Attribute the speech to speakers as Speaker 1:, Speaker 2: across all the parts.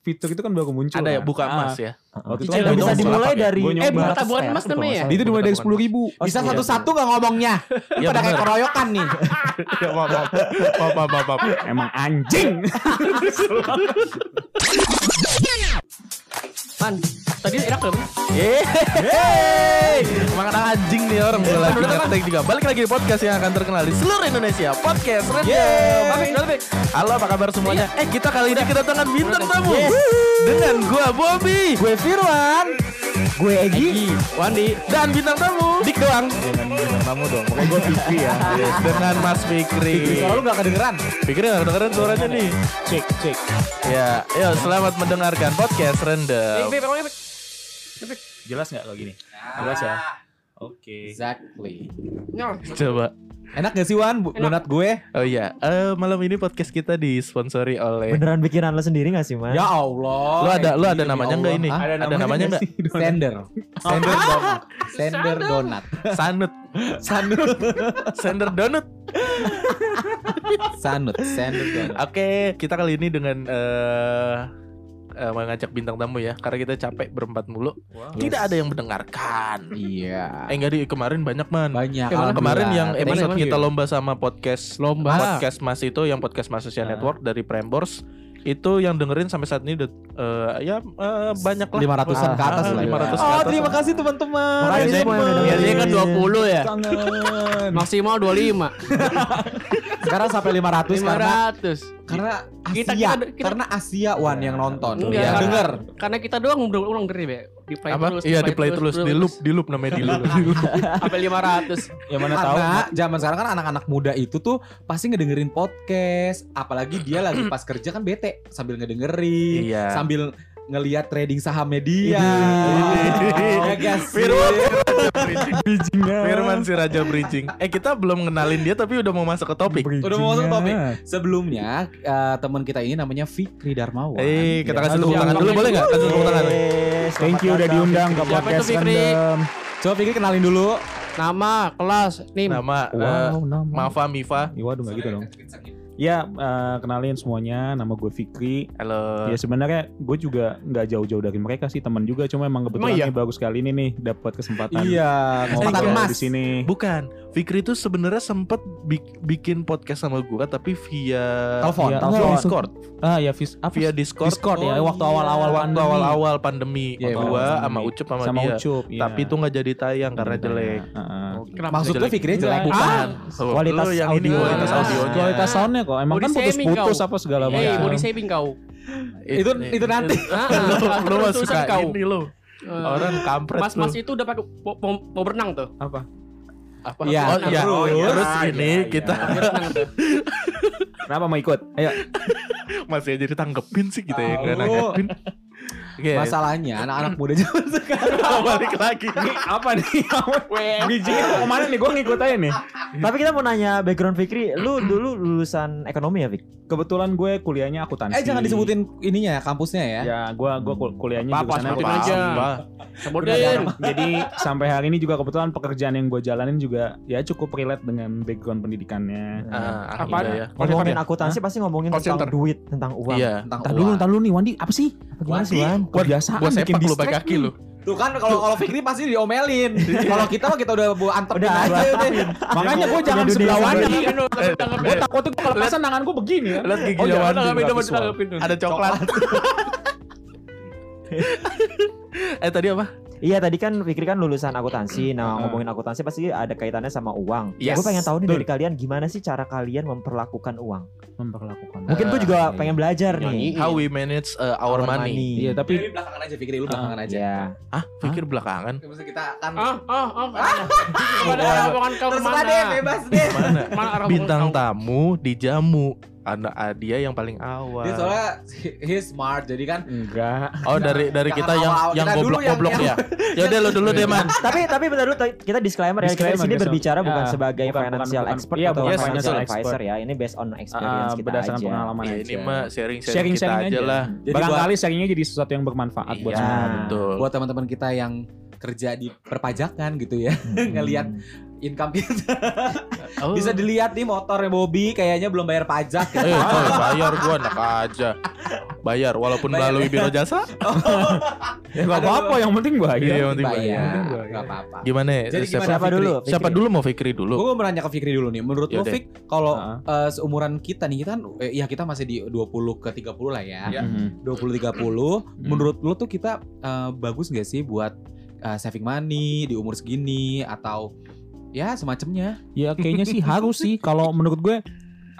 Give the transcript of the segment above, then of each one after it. Speaker 1: fitur itu kan baru muncul.
Speaker 2: Ada ya
Speaker 1: kan?
Speaker 2: buka
Speaker 1: Ah,
Speaker 2: emas ya.
Speaker 1: ah, waktu itu
Speaker 3: Eh,
Speaker 1: kan
Speaker 3: bisa
Speaker 1: baru
Speaker 3: dimulai
Speaker 1: muncul.
Speaker 3: dari
Speaker 1: Gua
Speaker 2: Eh,
Speaker 1: nyoba.
Speaker 2: bukan bukan emas namanya ya.
Speaker 1: Dia itu dimulai dari
Speaker 2: Bukan
Speaker 1: sepuluh ribu. Iya,
Speaker 3: Bisa satu-satu gak ngomongnya. Lu
Speaker 2: Iya,
Speaker 3: pada kayak
Speaker 2: bener.
Speaker 3: keroyokan nih.
Speaker 1: Iya,
Speaker 4: ya maaf maaf maaf maaf, maaf, maaf.
Speaker 1: Emang anjing.
Speaker 2: Man, tadi enak dong.
Speaker 1: Eh.
Speaker 2: Yeay. Emang anak anjing nih orang gue lagi ngetek juga. Balik lagi di podcast yang akan terkenal di seluruh Indonesia. Podcast Radio. Balik, balik. Iya. Halo apa kabar semuanya?
Speaker 3: Iya.
Speaker 2: Eh kita kali ini kedatangan bintang tamu. Dengan gua Bobby.
Speaker 3: Gue Firwan. Gue Egi.
Speaker 2: Wandi. Dan bintang tamu. Eh, Dik doang.
Speaker 4: Jangan bilang kamu dong pokoknya gue pipi ya
Speaker 2: Dengan Mas Fikri.
Speaker 3: Suara lu gak kedengeran.
Speaker 2: Fikri gak kedengeran suaranya nih.
Speaker 3: Cek, cek.
Speaker 2: Ya, yuk selamat mendengarkan podcast Rendem.
Speaker 1: Jelas nggak kalau gini? Jelas ya. Oke.
Speaker 3: Exactly.
Speaker 2: Coba.
Speaker 3: Enak gak sih Wan? Bu- Donat gue.
Speaker 2: Oh iya, eh, malam ini podcast kita disponsori oleh
Speaker 5: Beneran bikinan lo sendiri gak sih mas?
Speaker 3: Ya Allah.
Speaker 2: Lu ada lu ada
Speaker 3: Demi
Speaker 2: namanya enggak
Speaker 3: Oh, iya, ya Allah.
Speaker 2: ini?
Speaker 3: Hah?
Speaker 2: Ada, namanya
Speaker 1: Iya
Speaker 2: enggak?
Speaker 3: Sender. Sender donat. Sender donat.
Speaker 2: Sanut.
Speaker 3: Sanut.
Speaker 2: Sender Donut.
Speaker 3: Sanut. Sender donat.
Speaker 2: Oke, kita kali ini dengan eh eh, mengajak bintang tamu ya karena kita capek berempat mulu. Tidak ada yang mendengarkan.
Speaker 3: Iya.
Speaker 2: Eh enggak di kemarin banyak man.
Speaker 3: Banyak.
Speaker 2: Kemarin- kemarin yang
Speaker 3: alhamdulillah.
Speaker 2: episode
Speaker 3: Thank you.
Speaker 2: kita lomba sama podcast lomba podcast Mas itu yang podcast Mas Social
Speaker 3: Nah.
Speaker 2: Network dari Prembors itu yang dengerin sampai saat ini udah, eh, ya eh, banyak lah
Speaker 3: 500-an ke atas
Speaker 2: Ah,
Speaker 3: lah
Speaker 2: 500
Speaker 3: ya.
Speaker 2: ke
Speaker 3: Oh
Speaker 2: atas
Speaker 3: terima
Speaker 2: lah.
Speaker 3: kasih teman-teman.
Speaker 5: Makasih
Speaker 3: Terima
Speaker 5: semua yang udah
Speaker 3: kasih.
Speaker 5: dengerin.
Speaker 6: Biasanya kan 20 ya.
Speaker 1: Kangen.
Speaker 6: Maksimal 25.
Speaker 3: Sekarang sampai 500, karena
Speaker 6: 500.
Speaker 3: karena Asia.
Speaker 6: Kita- kita- kita-
Speaker 3: karena Asia Wan yang nonton. Iya.
Speaker 6: Enggak.
Speaker 3: Yang denger.
Speaker 6: Karena kita doang berulang-ulang dari Be. Di play
Speaker 2: iya. apa?
Speaker 6: terus.
Speaker 2: Iya di play terus, di loop, di loop namanya di loop. Di loop.
Speaker 6: Sampai 500.
Speaker 1: Yang mana tahu?
Speaker 3: Karena zaman sekarang kan anak-anak muda itu tuh pasti ngedengerin podcast, apalagi dia lagi pas kerja kan bete sambil ngedengerin,
Speaker 2: Iya.
Speaker 3: sambil ngelihat trading sahamnya dia. Iya, Ya guys.
Speaker 2: Firman Firman si Raja Bridging. Eh kita belum ngenalin dia tapi udah mau masuk ke topik.
Speaker 3: Udah mau masuk topik. Sebelumnya eh, teman kita ini namanya Fikri Darmawan. Ya.
Speaker 2: Eh kita kasih tepuk
Speaker 1: Aduh.
Speaker 2: tangan dulu boleh nggak? Kasih tepuk tangan.
Speaker 3: Iya.
Speaker 5: Yes,
Speaker 1: Thank you udah diundang ke
Speaker 6: Siapa itu,
Speaker 1: podcast
Speaker 6: Fikri?
Speaker 1: Random.
Speaker 3: Coba Fikri kenalin dulu.
Speaker 6: Nama, kelas, nim.
Speaker 2: Nama eh,
Speaker 1: Wow, nama.
Speaker 2: Mafa Mifa.
Speaker 1: Ih, Waduh nggak gitu dong. Ya eh, kenalin semuanya, nama gue Fikri.
Speaker 2: Halo.
Speaker 1: Ya sebenarnya gue juga nggak jauh-jauh dari mereka sih teman juga, cuma emang kebetulan
Speaker 6: Emang iya?
Speaker 1: nih bagus kali ini nih dapat kesempatan
Speaker 3: Iya,
Speaker 1: ngobrol
Speaker 3: kesempatan emas.
Speaker 1: di sini.
Speaker 2: Bukan. Fikri itu sebenarnya sempet bik- bikin podcast sama gua tapi via
Speaker 3: Telepon,
Speaker 2: via
Speaker 3: telepon.
Speaker 2: Discord.
Speaker 1: Iya, Ah ya vis apa?
Speaker 2: Via Discord. Oh, iya.
Speaker 1: Discord ya, waktu awal-awal
Speaker 2: Waktu
Speaker 1: pandemi.
Speaker 2: awal-awal pandemi.
Speaker 3: Iya,
Speaker 2: Gua
Speaker 1: awal-awal
Speaker 2: sama
Speaker 1: pandemi.
Speaker 2: Ucup sama,
Speaker 1: sama
Speaker 2: dia.
Speaker 1: Ucup. iya.
Speaker 2: Tapi itu nggak jadi tayang karena
Speaker 1: Iya.
Speaker 2: jelek.
Speaker 1: Heeh.
Speaker 6: Kenapa
Speaker 3: Maksud lu
Speaker 2: jelek.
Speaker 3: Fikri jelek bukan?
Speaker 6: Ah,
Speaker 2: Oh,
Speaker 5: Kualitas
Speaker 2: lu yang ini
Speaker 5: audio.
Speaker 2: kualitas
Speaker 6: Ah.
Speaker 2: audionya.
Speaker 1: Kualitas Iya, soundnya kok, emang
Speaker 6: Body
Speaker 1: kan
Speaker 6: shaming
Speaker 1: putus-putus
Speaker 6: kau.
Speaker 1: apa segala
Speaker 2: Iya,
Speaker 6: Eh,
Speaker 1: macam.
Speaker 6: body saving kau.
Speaker 3: Itu itu nanti.
Speaker 6: Ah,
Speaker 2: lu,
Speaker 6: ah,
Speaker 2: lu mah
Speaker 6: terus-terusan
Speaker 2: suka
Speaker 6: kau.
Speaker 2: ini lu.
Speaker 6: Eh,
Speaker 2: Orang kampret
Speaker 6: Mas-mas
Speaker 2: lu.
Speaker 6: itu udah pakai mau- mau mau berenang tuh.
Speaker 1: apa?
Speaker 6: Apa?
Speaker 2: Oh,
Speaker 3: Iya,
Speaker 2: iya.
Speaker 6: Mau
Speaker 2: Oh, iya. Terus
Speaker 1: Ah,
Speaker 2: ini
Speaker 1: iya,
Speaker 2: kita
Speaker 6: berenang tuh.
Speaker 1: Kenapa mau ikut? Ayo.
Speaker 2: masih aja ditanggepin sih kita ya,
Speaker 3: Tahu.
Speaker 2: nggak nanggepin. Oke,
Speaker 3: Masalahnya anak-anak muda zaman sekarang.
Speaker 2: balik lagi.
Speaker 1: Ini apa nih? Bijinya mau kemana nih? Gue ngikut aja nih.
Speaker 5: Tapi kita mau nanya background Fikri, lu dulu lulusan ekonomi ya Fik?
Speaker 1: Kebetulan gue kuliahnya akuntansi.
Speaker 3: Eh jangan disebutin ininya ya, kampusnya ya.
Speaker 2: Iya.
Speaker 1: Ya, gue gue kul- kuliahnya
Speaker 6: Apa-apa,
Speaker 1: jurusan
Speaker 6: sebutin
Speaker 1: apa?
Speaker 6: aja.
Speaker 2: Mbak.
Speaker 1: Iya.
Speaker 6: Sebutin.
Speaker 1: Jadi sampai hari ini juga kebetulan pekerjaan yang gue jalanin juga ya cukup relate dengan background pendidikannya.
Speaker 2: Ah,
Speaker 6: Apa?
Speaker 2: iya ya.
Speaker 1: kan
Speaker 5: Ngomongin akuntansi pasti
Speaker 1: Oh,
Speaker 5: ngomongin
Speaker 2: Call
Speaker 5: tentang
Speaker 2: center.
Speaker 5: duit, tentang uang.
Speaker 2: Iya.
Speaker 3: Tentang
Speaker 1: Entar dulu,
Speaker 3: uang.
Speaker 1: entar dulu nih Wandi, apa sih?
Speaker 5: Apa gimana
Speaker 3: Wandi.
Speaker 5: sih Wan?
Speaker 1: Kebiasaan
Speaker 2: Gua
Speaker 1: bikin
Speaker 2: sepak lu
Speaker 1: distract
Speaker 2: pakai kaki
Speaker 1: nih.
Speaker 2: lu.
Speaker 3: Tuh kan kalau kalau Fikri pasti diomelin.
Speaker 2: Iya.
Speaker 3: kalau kita mah kita udah bawa antepin
Speaker 5: Udah.
Speaker 3: aja udah.
Speaker 1: Makanya gue jangan
Speaker 5: dunia
Speaker 1: sebelah
Speaker 5: sebelah
Speaker 1: Wandi.
Speaker 6: Tanggepin dulu, tanggepin.
Speaker 1: Gue takutnya gue kelepasan tangan gue begini ya.
Speaker 2: Eh, Lihat gigi
Speaker 1: Oh, jangan,
Speaker 2: Jawan
Speaker 1: tanggapin,
Speaker 2: juga
Speaker 1: jangan,
Speaker 2: visual.
Speaker 1: tanggapin dulu.
Speaker 2: Ada coklat. eh tadi apa?
Speaker 5: Iya tadi kan Fikri kan lulusan
Speaker 1: Hmm.
Speaker 5: akuntansi. Nah ngomongin akuntansi pasti ada kaitannya sama uang.
Speaker 2: Yes.
Speaker 5: Gue pengen tahu
Speaker 1: Betul.
Speaker 5: nih dari kalian gimana sih cara kalian memperlakukan uang?
Speaker 1: Memperlakukan.
Speaker 5: Mungkin gue juga pengen belajar nih.
Speaker 6: Nyanyi.
Speaker 2: How we manage uh, our, money.
Speaker 1: Iya, tapi
Speaker 3: Fikri belakangan aja Fikri lu belakangan
Speaker 1: Ah,
Speaker 3: aja.
Speaker 5: Iya.
Speaker 2: Hah? Pikir belakangan.
Speaker 3: Maksudnya kita kan
Speaker 6: Ah, ah, ah. Kepada arah omongan kau
Speaker 3: terserah deh
Speaker 6: kemana?
Speaker 3: bebas deh.
Speaker 2: Mana?
Speaker 6: Mana arah omongan
Speaker 2: Bintang
Speaker 6: kau?
Speaker 2: tamu dijamu. Anak ah, dia yang paling awal.
Speaker 3: Dia soalnya he- he's smart jadi kan
Speaker 1: enggak.
Speaker 2: Oh dari dari
Speaker 3: Jangan
Speaker 2: kita yang
Speaker 3: awal-awal.
Speaker 2: yang
Speaker 3: Kita dulu
Speaker 2: goblok-goblok
Speaker 3: yang-
Speaker 2: ya. Ya udah lu dulu deh,
Speaker 5: Iya.
Speaker 2: Man.
Speaker 5: tapi tapi bentar dulu ta- kita disclaimer, ya kita di
Speaker 1: Disclaimer,
Speaker 5: sini
Speaker 1: guys.
Speaker 5: berbicara
Speaker 1: Ya,
Speaker 5: bukan sebagai
Speaker 1: bukan-
Speaker 5: financial
Speaker 1: bukan- bukan-
Speaker 5: expert
Speaker 1: iya,
Speaker 5: atau
Speaker 2: bukan
Speaker 5: financial
Speaker 1: financial
Speaker 5: advisor
Speaker 1: expert.
Speaker 5: ya ini based on experience
Speaker 1: Ah,
Speaker 5: kita
Speaker 1: berdasarkan
Speaker 5: aja.
Speaker 1: pengalaman
Speaker 2: Ya,
Speaker 1: aja.
Speaker 2: ini mah sharing-sharing kita
Speaker 1: sharing-sharing
Speaker 2: aja lah.
Speaker 1: Barangkali sharingnya jadi sesuatu yang bermanfaat buat
Speaker 2: Iya,
Speaker 1: semua.
Speaker 2: betul.
Speaker 3: buat teman-teman kita yang kerja di perpajakan gitu ya ngelihat income kita
Speaker 6: Oh.
Speaker 3: bisa dilihat nih motornya Bobby kayaknya belum bayar pajak
Speaker 2: Eh, coy, bayar gua enak aja. Bayar walaupun
Speaker 3: Bayar.
Speaker 2: melalui biro jasa.
Speaker 1: Ya nggak apa-apa, yang penting
Speaker 2: Iya, yang
Speaker 1: bayar.
Speaker 2: penting bayar.
Speaker 3: bayar
Speaker 1: bayar.
Speaker 3: nggak apa-apa
Speaker 2: Gimana? ya,
Speaker 3: Jadi
Speaker 2: siapa,
Speaker 3: gimana,
Speaker 5: Siapa
Speaker 3: Fikri?
Speaker 5: dulu?
Speaker 2: siapa
Speaker 5: Fikri?
Speaker 2: dulu mau Fikri dulu?
Speaker 3: Gue mau nanya ke Fikri dulu nih. Menurut lo
Speaker 2: Yaudah.
Speaker 3: Fik, kalau
Speaker 1: Heeh.
Speaker 3: eh, seumuran kita nih kita eh, ya kita masih di 20 ke 30 lah ya.
Speaker 2: Iya.
Speaker 1: Mhm.
Speaker 3: 20 30. Menurut lo tuh kita eh, bagus nggak sih buat eh, saving money di umur segini atau ya semacamnya?
Speaker 1: Ya kayaknya sih harus sih kalau menurut gue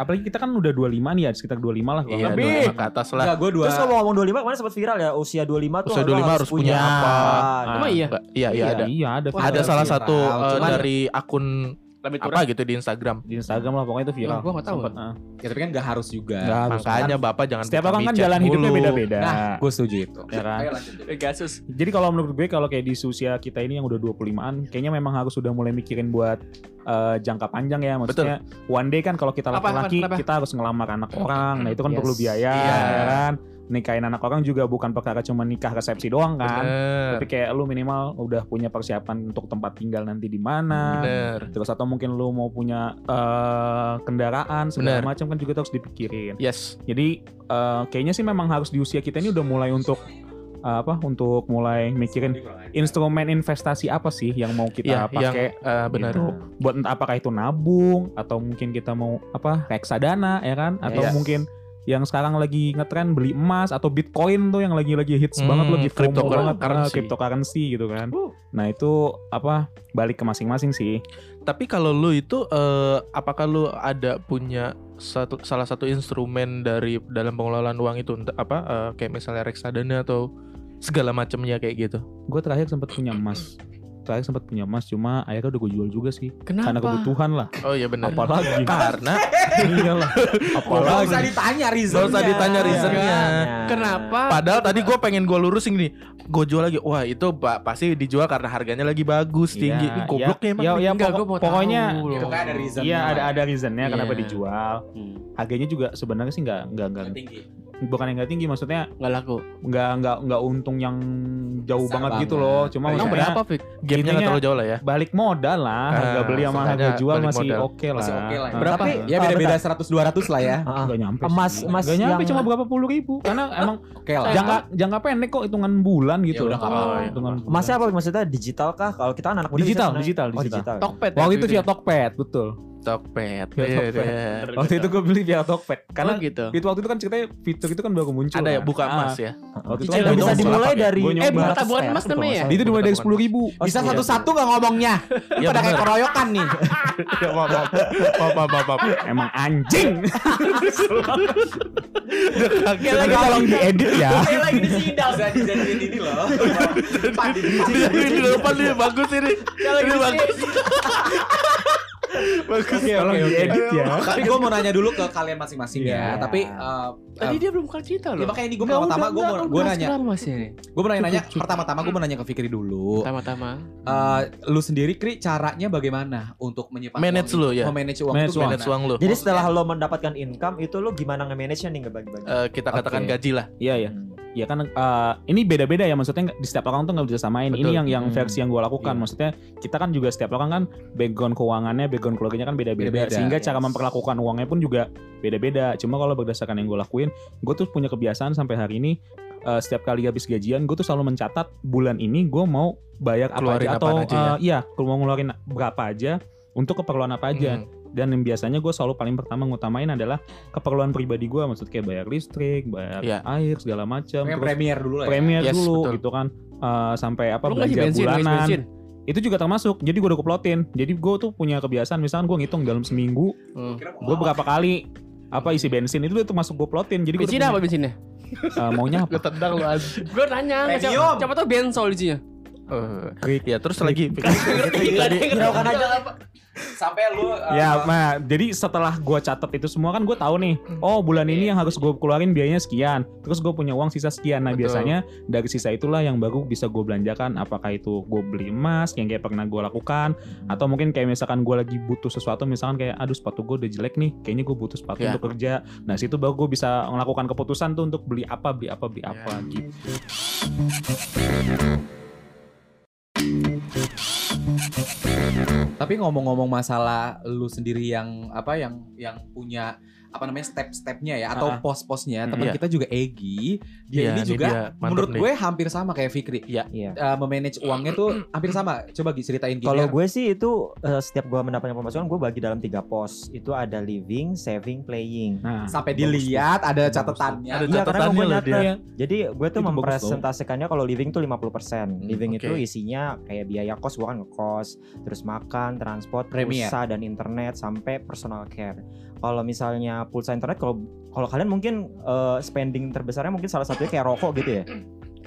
Speaker 1: apalagi kita kan udah 25 nih ya sekitar 25 lah kalau
Speaker 2: Iya,
Speaker 1: nggak
Speaker 2: dua
Speaker 1: salah.
Speaker 2: enak ke atas lah.
Speaker 3: Enggak, gue dua.
Speaker 5: Terus kalau ngomong 25 kemarin sempat viral ya usia 25 tuh
Speaker 2: Usia 25 harus punya apa.
Speaker 5: gitu.
Speaker 1: Ah,
Speaker 6: Emang iya?
Speaker 2: Enggak, iya, iya ada.
Speaker 1: Iya, ada.
Speaker 6: Wah,
Speaker 2: Ada
Speaker 3: Viral,
Speaker 2: salah
Speaker 3: viral.
Speaker 2: satu eh,
Speaker 3: Cuman-
Speaker 2: dari akun
Speaker 6: Lebih
Speaker 2: apa gitu di Instagram.
Speaker 1: Di Instagram lah pokoknya itu viral.
Speaker 6: Gua nggak tahu.
Speaker 1: Sempet, ah.
Speaker 3: Ya tapi kan nggak harus juga.
Speaker 1: Nggak harus.
Speaker 2: Makanya Bapak jangan
Speaker 1: Setiap
Speaker 2: buka
Speaker 1: orang kan
Speaker 2: micet
Speaker 1: jalan hidupnya
Speaker 2: mulu.
Speaker 1: beda-beda.
Speaker 3: Nah, gue setuju itu.
Speaker 1: Ya kan?
Speaker 3: Ayo lanjut.
Speaker 6: Eh, Gasus.
Speaker 1: Jadi kalau menurut gue kalau kayak di usia kita ini yang udah 25-an kayaknya memang harus sudah mulai mikirin buat eh, jangka panjang ya maksudnya one day kan kalau kita
Speaker 6: Apa, apa,
Speaker 1: laki-laki
Speaker 6: kenapa?
Speaker 1: kita harus ngelamar anak orang. Nah, itu kan
Speaker 5: Yes.
Speaker 1: perlu biaya
Speaker 2: Iya.
Speaker 1: ya kan. Nikahin anak orang juga bukan perkara cuma nikah resepsi doang kan.
Speaker 2: Bener.
Speaker 1: tapi kayak lu minimal udah punya persiapan untuk tempat tinggal nanti di mana
Speaker 2: Bener.
Speaker 1: terus atau mungkin lu mau punya eh, kendaraan segala
Speaker 2: Bener.
Speaker 1: macam kan juga harus dipikirin
Speaker 2: Yes.
Speaker 1: jadi eh, kayaknya sih memang harus di usia kita ini udah mulai untuk eh, apa untuk mulai mikirin instrumen investasi apa sih yang mau
Speaker 2: Iya,
Speaker 1: kita
Speaker 2: yang
Speaker 1: pakai
Speaker 2: eh, bener.
Speaker 1: gitu. buat entah apakah itu nabung atau mungkin kita mau apa reksadana ya kan atau
Speaker 2: Yes.
Speaker 1: mungkin yang sekarang lagi ngetren beli emas atau bitcoin tuh yang lagi-lagi hits
Speaker 2: Hmm,
Speaker 1: banget lagi FOMO
Speaker 2: cryptocurrency.
Speaker 1: banget karena cryptocurrency gitu kan. Nah itu apa balik ke masing-masing sih.
Speaker 2: Tapi kalau lu itu eh, apakah lu ada punya satu salah satu instrumen dari dalam pengelolaan uang itu Entah apa eh, kayak misalnya reksadana atau segala macamnya kayak gitu.
Speaker 1: Gue terakhir sempat punya emas. Terakhir sempat punya emas cuma akhirnya udah gue jual juga sih karena
Speaker 6: Kenapa?
Speaker 1: kebutuhan lah.
Speaker 2: Oh iya benar.
Speaker 1: Apalagi
Speaker 2: Karena
Speaker 1: iyalah.
Speaker 3: Gak
Speaker 1: Apalagi
Speaker 3: usah ditanya reasonnya. Iya,
Speaker 2: Gak usah ditanya reasonnya.
Speaker 6: Kenapa?
Speaker 2: Padahal tadi gue pengen gue lurusin nih, gue jual lagi. Wah itu pak pasti dijual karena harganya lagi bagus
Speaker 1: Iya,
Speaker 2: tinggi. Ini gobloknya emang.
Speaker 1: ya,
Speaker 2: nih.
Speaker 1: ya,
Speaker 6: Enggak,
Speaker 1: pokok-
Speaker 6: gua mau
Speaker 1: pokoknya
Speaker 6: tahu
Speaker 3: Itu
Speaker 6: loh.
Speaker 3: kan ada reasonnya.
Speaker 1: Iya ada ada reasonnya kenapa
Speaker 2: Iya.
Speaker 1: dijual. Harganya juga sebenarnya sih nggak nggak nggak
Speaker 3: Yang tinggi.
Speaker 1: bukan yang nggak tinggi maksudnya
Speaker 6: Nggak laku.
Speaker 1: nggak nggak nggak untung yang jauh
Speaker 3: Besar
Speaker 1: banget, gitu
Speaker 3: banget.
Speaker 1: loh cuma
Speaker 2: Emang
Speaker 6: Emang
Speaker 1: maksudnya
Speaker 6: berapa, Fik?
Speaker 2: Gamenya nggak
Speaker 1: intinya-
Speaker 2: terlalu jauh lah ya.
Speaker 1: balik modal lah harga
Speaker 2: Ah,
Speaker 1: beli sama harga
Speaker 2: seenggaknya
Speaker 1: jual
Speaker 2: balik
Speaker 1: masih
Speaker 2: modal.
Speaker 1: oke lah
Speaker 3: Masih oke lah.
Speaker 1: Ah,
Speaker 3: Berapa?
Speaker 1: tapi
Speaker 3: Ya
Speaker 1: ah,
Speaker 3: beda-beda 100 200 lah ya.
Speaker 1: bentar. nggak nyampe
Speaker 5: Emas-
Speaker 1: sih.
Speaker 5: emas
Speaker 1: nggak nyampe
Speaker 5: yang-
Speaker 1: cuma berapa puluh ribu karena emang
Speaker 3: Oke lah. Ya
Speaker 1: jangka jangka pendek kok hitungan bulan gitu
Speaker 3: udah, nggak
Speaker 6: apa-apa.
Speaker 1: hitungan bulan.
Speaker 5: Masnya apa maksudnya digital kah? Kalau kita anak muda
Speaker 1: Digital,
Speaker 5: bisa senang-
Speaker 1: digital,
Speaker 5: Oh,
Speaker 1: digital.
Speaker 5: digital.
Speaker 6: Tokped.
Speaker 1: waktu itu via Tokped betul
Speaker 2: Tokped.
Speaker 1: Via
Speaker 2: Iya,
Speaker 1: Tokped.
Speaker 2: iya.
Speaker 1: waktu itu gue beli via Tokped
Speaker 6: karena
Speaker 1: karena
Speaker 6: gitu.
Speaker 1: itu waktu itu kan ceritanya fitur itu kan baru muncul
Speaker 2: Ada ya
Speaker 1: kan.
Speaker 2: buka
Speaker 1: Ah,
Speaker 2: emas ya.
Speaker 1: waktu itu
Speaker 6: Eh,
Speaker 1: kan
Speaker 6: nggak
Speaker 1: baru
Speaker 5: gitu. bisa
Speaker 2: Bisa
Speaker 1: muncul.
Speaker 5: dimulai
Speaker 2: dipakai.
Speaker 5: dari
Speaker 1: Gua nyoba.
Speaker 6: Eh, bukan
Speaker 5: Barat
Speaker 6: tabungan
Speaker 5: Square.
Speaker 6: emas namanya ya?
Speaker 1: itu dimulai dari
Speaker 2: Bukan
Speaker 1: sepuluh ribu
Speaker 3: Bisa
Speaker 5: gitu, Iya.
Speaker 3: satu-satu nggak ngomongnya? Ini
Speaker 2: Iya,
Speaker 3: pada kayak
Speaker 2: bener.
Speaker 3: keroyokan nih.
Speaker 7: Ya maaf, maaf. Maaf, maaf, maaf, maaf.
Speaker 1: emang anjing
Speaker 2: Kayak
Speaker 1: Tapi tolong diedit ya
Speaker 3: Saya lagi disidang Saya dijadiin ini loh. Pandi
Speaker 2: Ini depan nih bagus ini. Ini bagus. Bagus.
Speaker 1: tolong diedit ya
Speaker 3: Tapi gue mau nanya dulu ke kalian masing-masing ya.
Speaker 5: Iya.
Speaker 3: Tapi eh,
Speaker 6: Tadi dia belum kelar cerita
Speaker 3: ya
Speaker 6: loh.
Speaker 3: makanya ini gue pertama-tama gue mau gue nanya.
Speaker 6: masih ini.
Speaker 3: Gue mau nanya pertama-tama gue mau nanya ke Fikri dulu.
Speaker 6: Pertama-tama.
Speaker 3: Eh, lu sendiri Kri caranya bagaimana untuk menyimpan
Speaker 2: Manage
Speaker 3: uang?
Speaker 2: lu, ya.
Speaker 3: Oh, manage uang
Speaker 1: Manage
Speaker 3: itu
Speaker 2: Manage
Speaker 3: gimana?
Speaker 2: uang lu.
Speaker 5: Jadi setelah lo mendapatkan income itu lo gimana nge-manage nih ngebagi-bagi?
Speaker 2: Eh, kita katakan
Speaker 3: Oke.
Speaker 2: gaji lah.
Speaker 1: iya ya
Speaker 5: Hmm.
Speaker 1: ya kan eh, ini beda-beda ya maksudnya nggak- di setiap orang tuh nggak bisa samain ini
Speaker 2: Betul.
Speaker 1: yang yang
Speaker 3: Hmm.
Speaker 1: versi yang gue lakukan
Speaker 3: Iya.
Speaker 1: maksudnya kita kan juga setiap orang kan background keuangannya background keluarganya kan beda-beda
Speaker 3: Beda-beda,
Speaker 1: sehingga cara
Speaker 5: yes.
Speaker 1: memperlakukan uangnya pun juga beda-beda cuma kalau berdasarkan yang gue lakuin gue tuh punya kebiasaan sampai hari ini eh, setiap kali habis gajian gue tuh selalu mencatat bulan ini gue mau bayar apa
Speaker 2: Keluarin
Speaker 1: aja
Speaker 2: apaan
Speaker 1: atau
Speaker 2: aja ya?
Speaker 1: eh, iya mau ngeluarin berapa aja untuk keperluan apa aja
Speaker 2: Hmm.
Speaker 1: dan yang biasanya gue selalu paling pertama ngutamain adalah keperluan pribadi gue maksud kayak bayar listrik bayar
Speaker 2: Iya.
Speaker 1: air segala macam
Speaker 3: Yang
Speaker 1: terus
Speaker 3: premier dulu lah. ya.
Speaker 1: premier
Speaker 2: Yes,
Speaker 1: dulu
Speaker 2: betul.
Speaker 1: gitu kan Eh, sampai apa
Speaker 6: Lu ngasih
Speaker 1: belanja
Speaker 6: bensin, ngasih
Speaker 1: bulanan
Speaker 6: bensin.
Speaker 1: itu juga termasuk jadi gue udah keplotin jadi gue tuh punya kebiasaan misalkan gue ngitung dalam seminggu
Speaker 6: Hmm.
Speaker 1: gue berapa kali apa isi bensin itu udah termasuk gue plotin jadi gue
Speaker 6: Bensin apa bensinnya?
Speaker 1: eh, maunya apa
Speaker 2: Gue tendang lu aja.
Speaker 6: Gue nanya, siapa-
Speaker 3: Premium.
Speaker 6: siapa tau bensol isinya?
Speaker 2: Ya terus lagi.
Speaker 3: Iya,
Speaker 6: Tadi-
Speaker 5: Hiraukan aja lah.
Speaker 3: Sampai lu eh,
Speaker 1: ya nah jadi setelah gue catat itu semua kan gue tahu nih
Speaker 2: Hmm.
Speaker 1: oh bulan
Speaker 2: Iya.
Speaker 1: ini yang harus gue keluarin biayanya sekian terus gue punya uang sisa sekian nah
Speaker 2: Betul.
Speaker 1: biasanya dari sisa itulah yang baru bisa gue belanjakan apakah itu gue beli emas yang kayak pernah gue lakukan
Speaker 2: Hmm.
Speaker 1: atau mungkin kayak misalkan gue lagi butuh sesuatu misalkan kayak aduh sepatu gue udah jelek nih kayaknya gue butuh sepatu
Speaker 2: Ya.
Speaker 1: untuk kerja nah situ baru gue bisa melakukan keputusan tuh untuk
Speaker 2: Iya.
Speaker 1: beli apa beli apa beli apa gitu
Speaker 3: Tapi ngomong-ngomong masalah lu sendiri yang apa yang yang punya apa namanya step-stepnya ya atau
Speaker 1: Ah.
Speaker 3: pos-posnya
Speaker 1: Hmm,
Speaker 3: teman
Speaker 8: iya.
Speaker 3: kita juga Egi
Speaker 8: Iya,
Speaker 2: Ya,
Speaker 3: dia Ya, ini juga
Speaker 8: dia. Mantap
Speaker 3: menurut
Speaker 8: nih.
Speaker 3: gue hampir sama kayak Fikri
Speaker 5: Iya.
Speaker 3: Eh, memanage uangnya tuh hampir sama coba Gi, ceritain gini
Speaker 5: Kalau gue sih itu eh, setiap gue mendapatkan pemasukan gue bagi dalam tiga pos. Itu ada living, saving, playing.
Speaker 1: Nah,
Speaker 3: sampai
Speaker 1: bagus tuh.
Speaker 3: dilihat ada
Speaker 1: Bagus tuh.
Speaker 3: catatannya
Speaker 8: Ada
Speaker 5: Iya, karena
Speaker 8: catatannya
Speaker 5: gue
Speaker 8: loh dia.
Speaker 5: nyatet. Jadi gue
Speaker 1: Itu
Speaker 5: tuh
Speaker 1: bagus dong.
Speaker 5: mempresentasikannya kalau living tuh 50%. Living
Speaker 8: oke.
Speaker 5: itu isinya kayak biaya kos, gue kan ngekos, terus makan, transport,
Speaker 3: Premier.
Speaker 5: pulsa dan internet sampai personal care. Kalau misalnya pulsa internet kalau kalau kalian mungkin eh, spending terbesarnya mungkin salah satunya kayak rokok gitu ya.